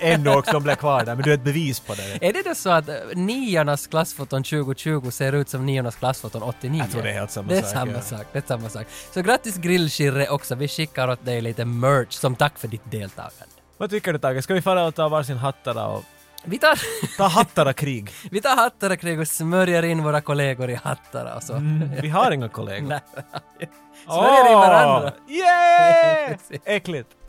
Ännu också, de blev kvar där, men du är ett bevis på det.
Är det då så att eh, niornas klassfoton 2020 ser ut som niornas klassfoton 89?
Jag tror det är helt samma
det är
sak,
Samma
ja.
sak. Det är samma sak. Så grattis grillkirre också. Vi skickar åt dig lite merch som tack för ditt deltagande.
Vad tycker du Tage? Ska vi fara och ta varsin hattara och...
Vi tar,
Ta hattara-krig!
vi tar hattar och krig och smörjer in våra kollegor i hattar och så.
Vi har inga kollegor.
Smörjer in varandra.
Yay! Äckligt!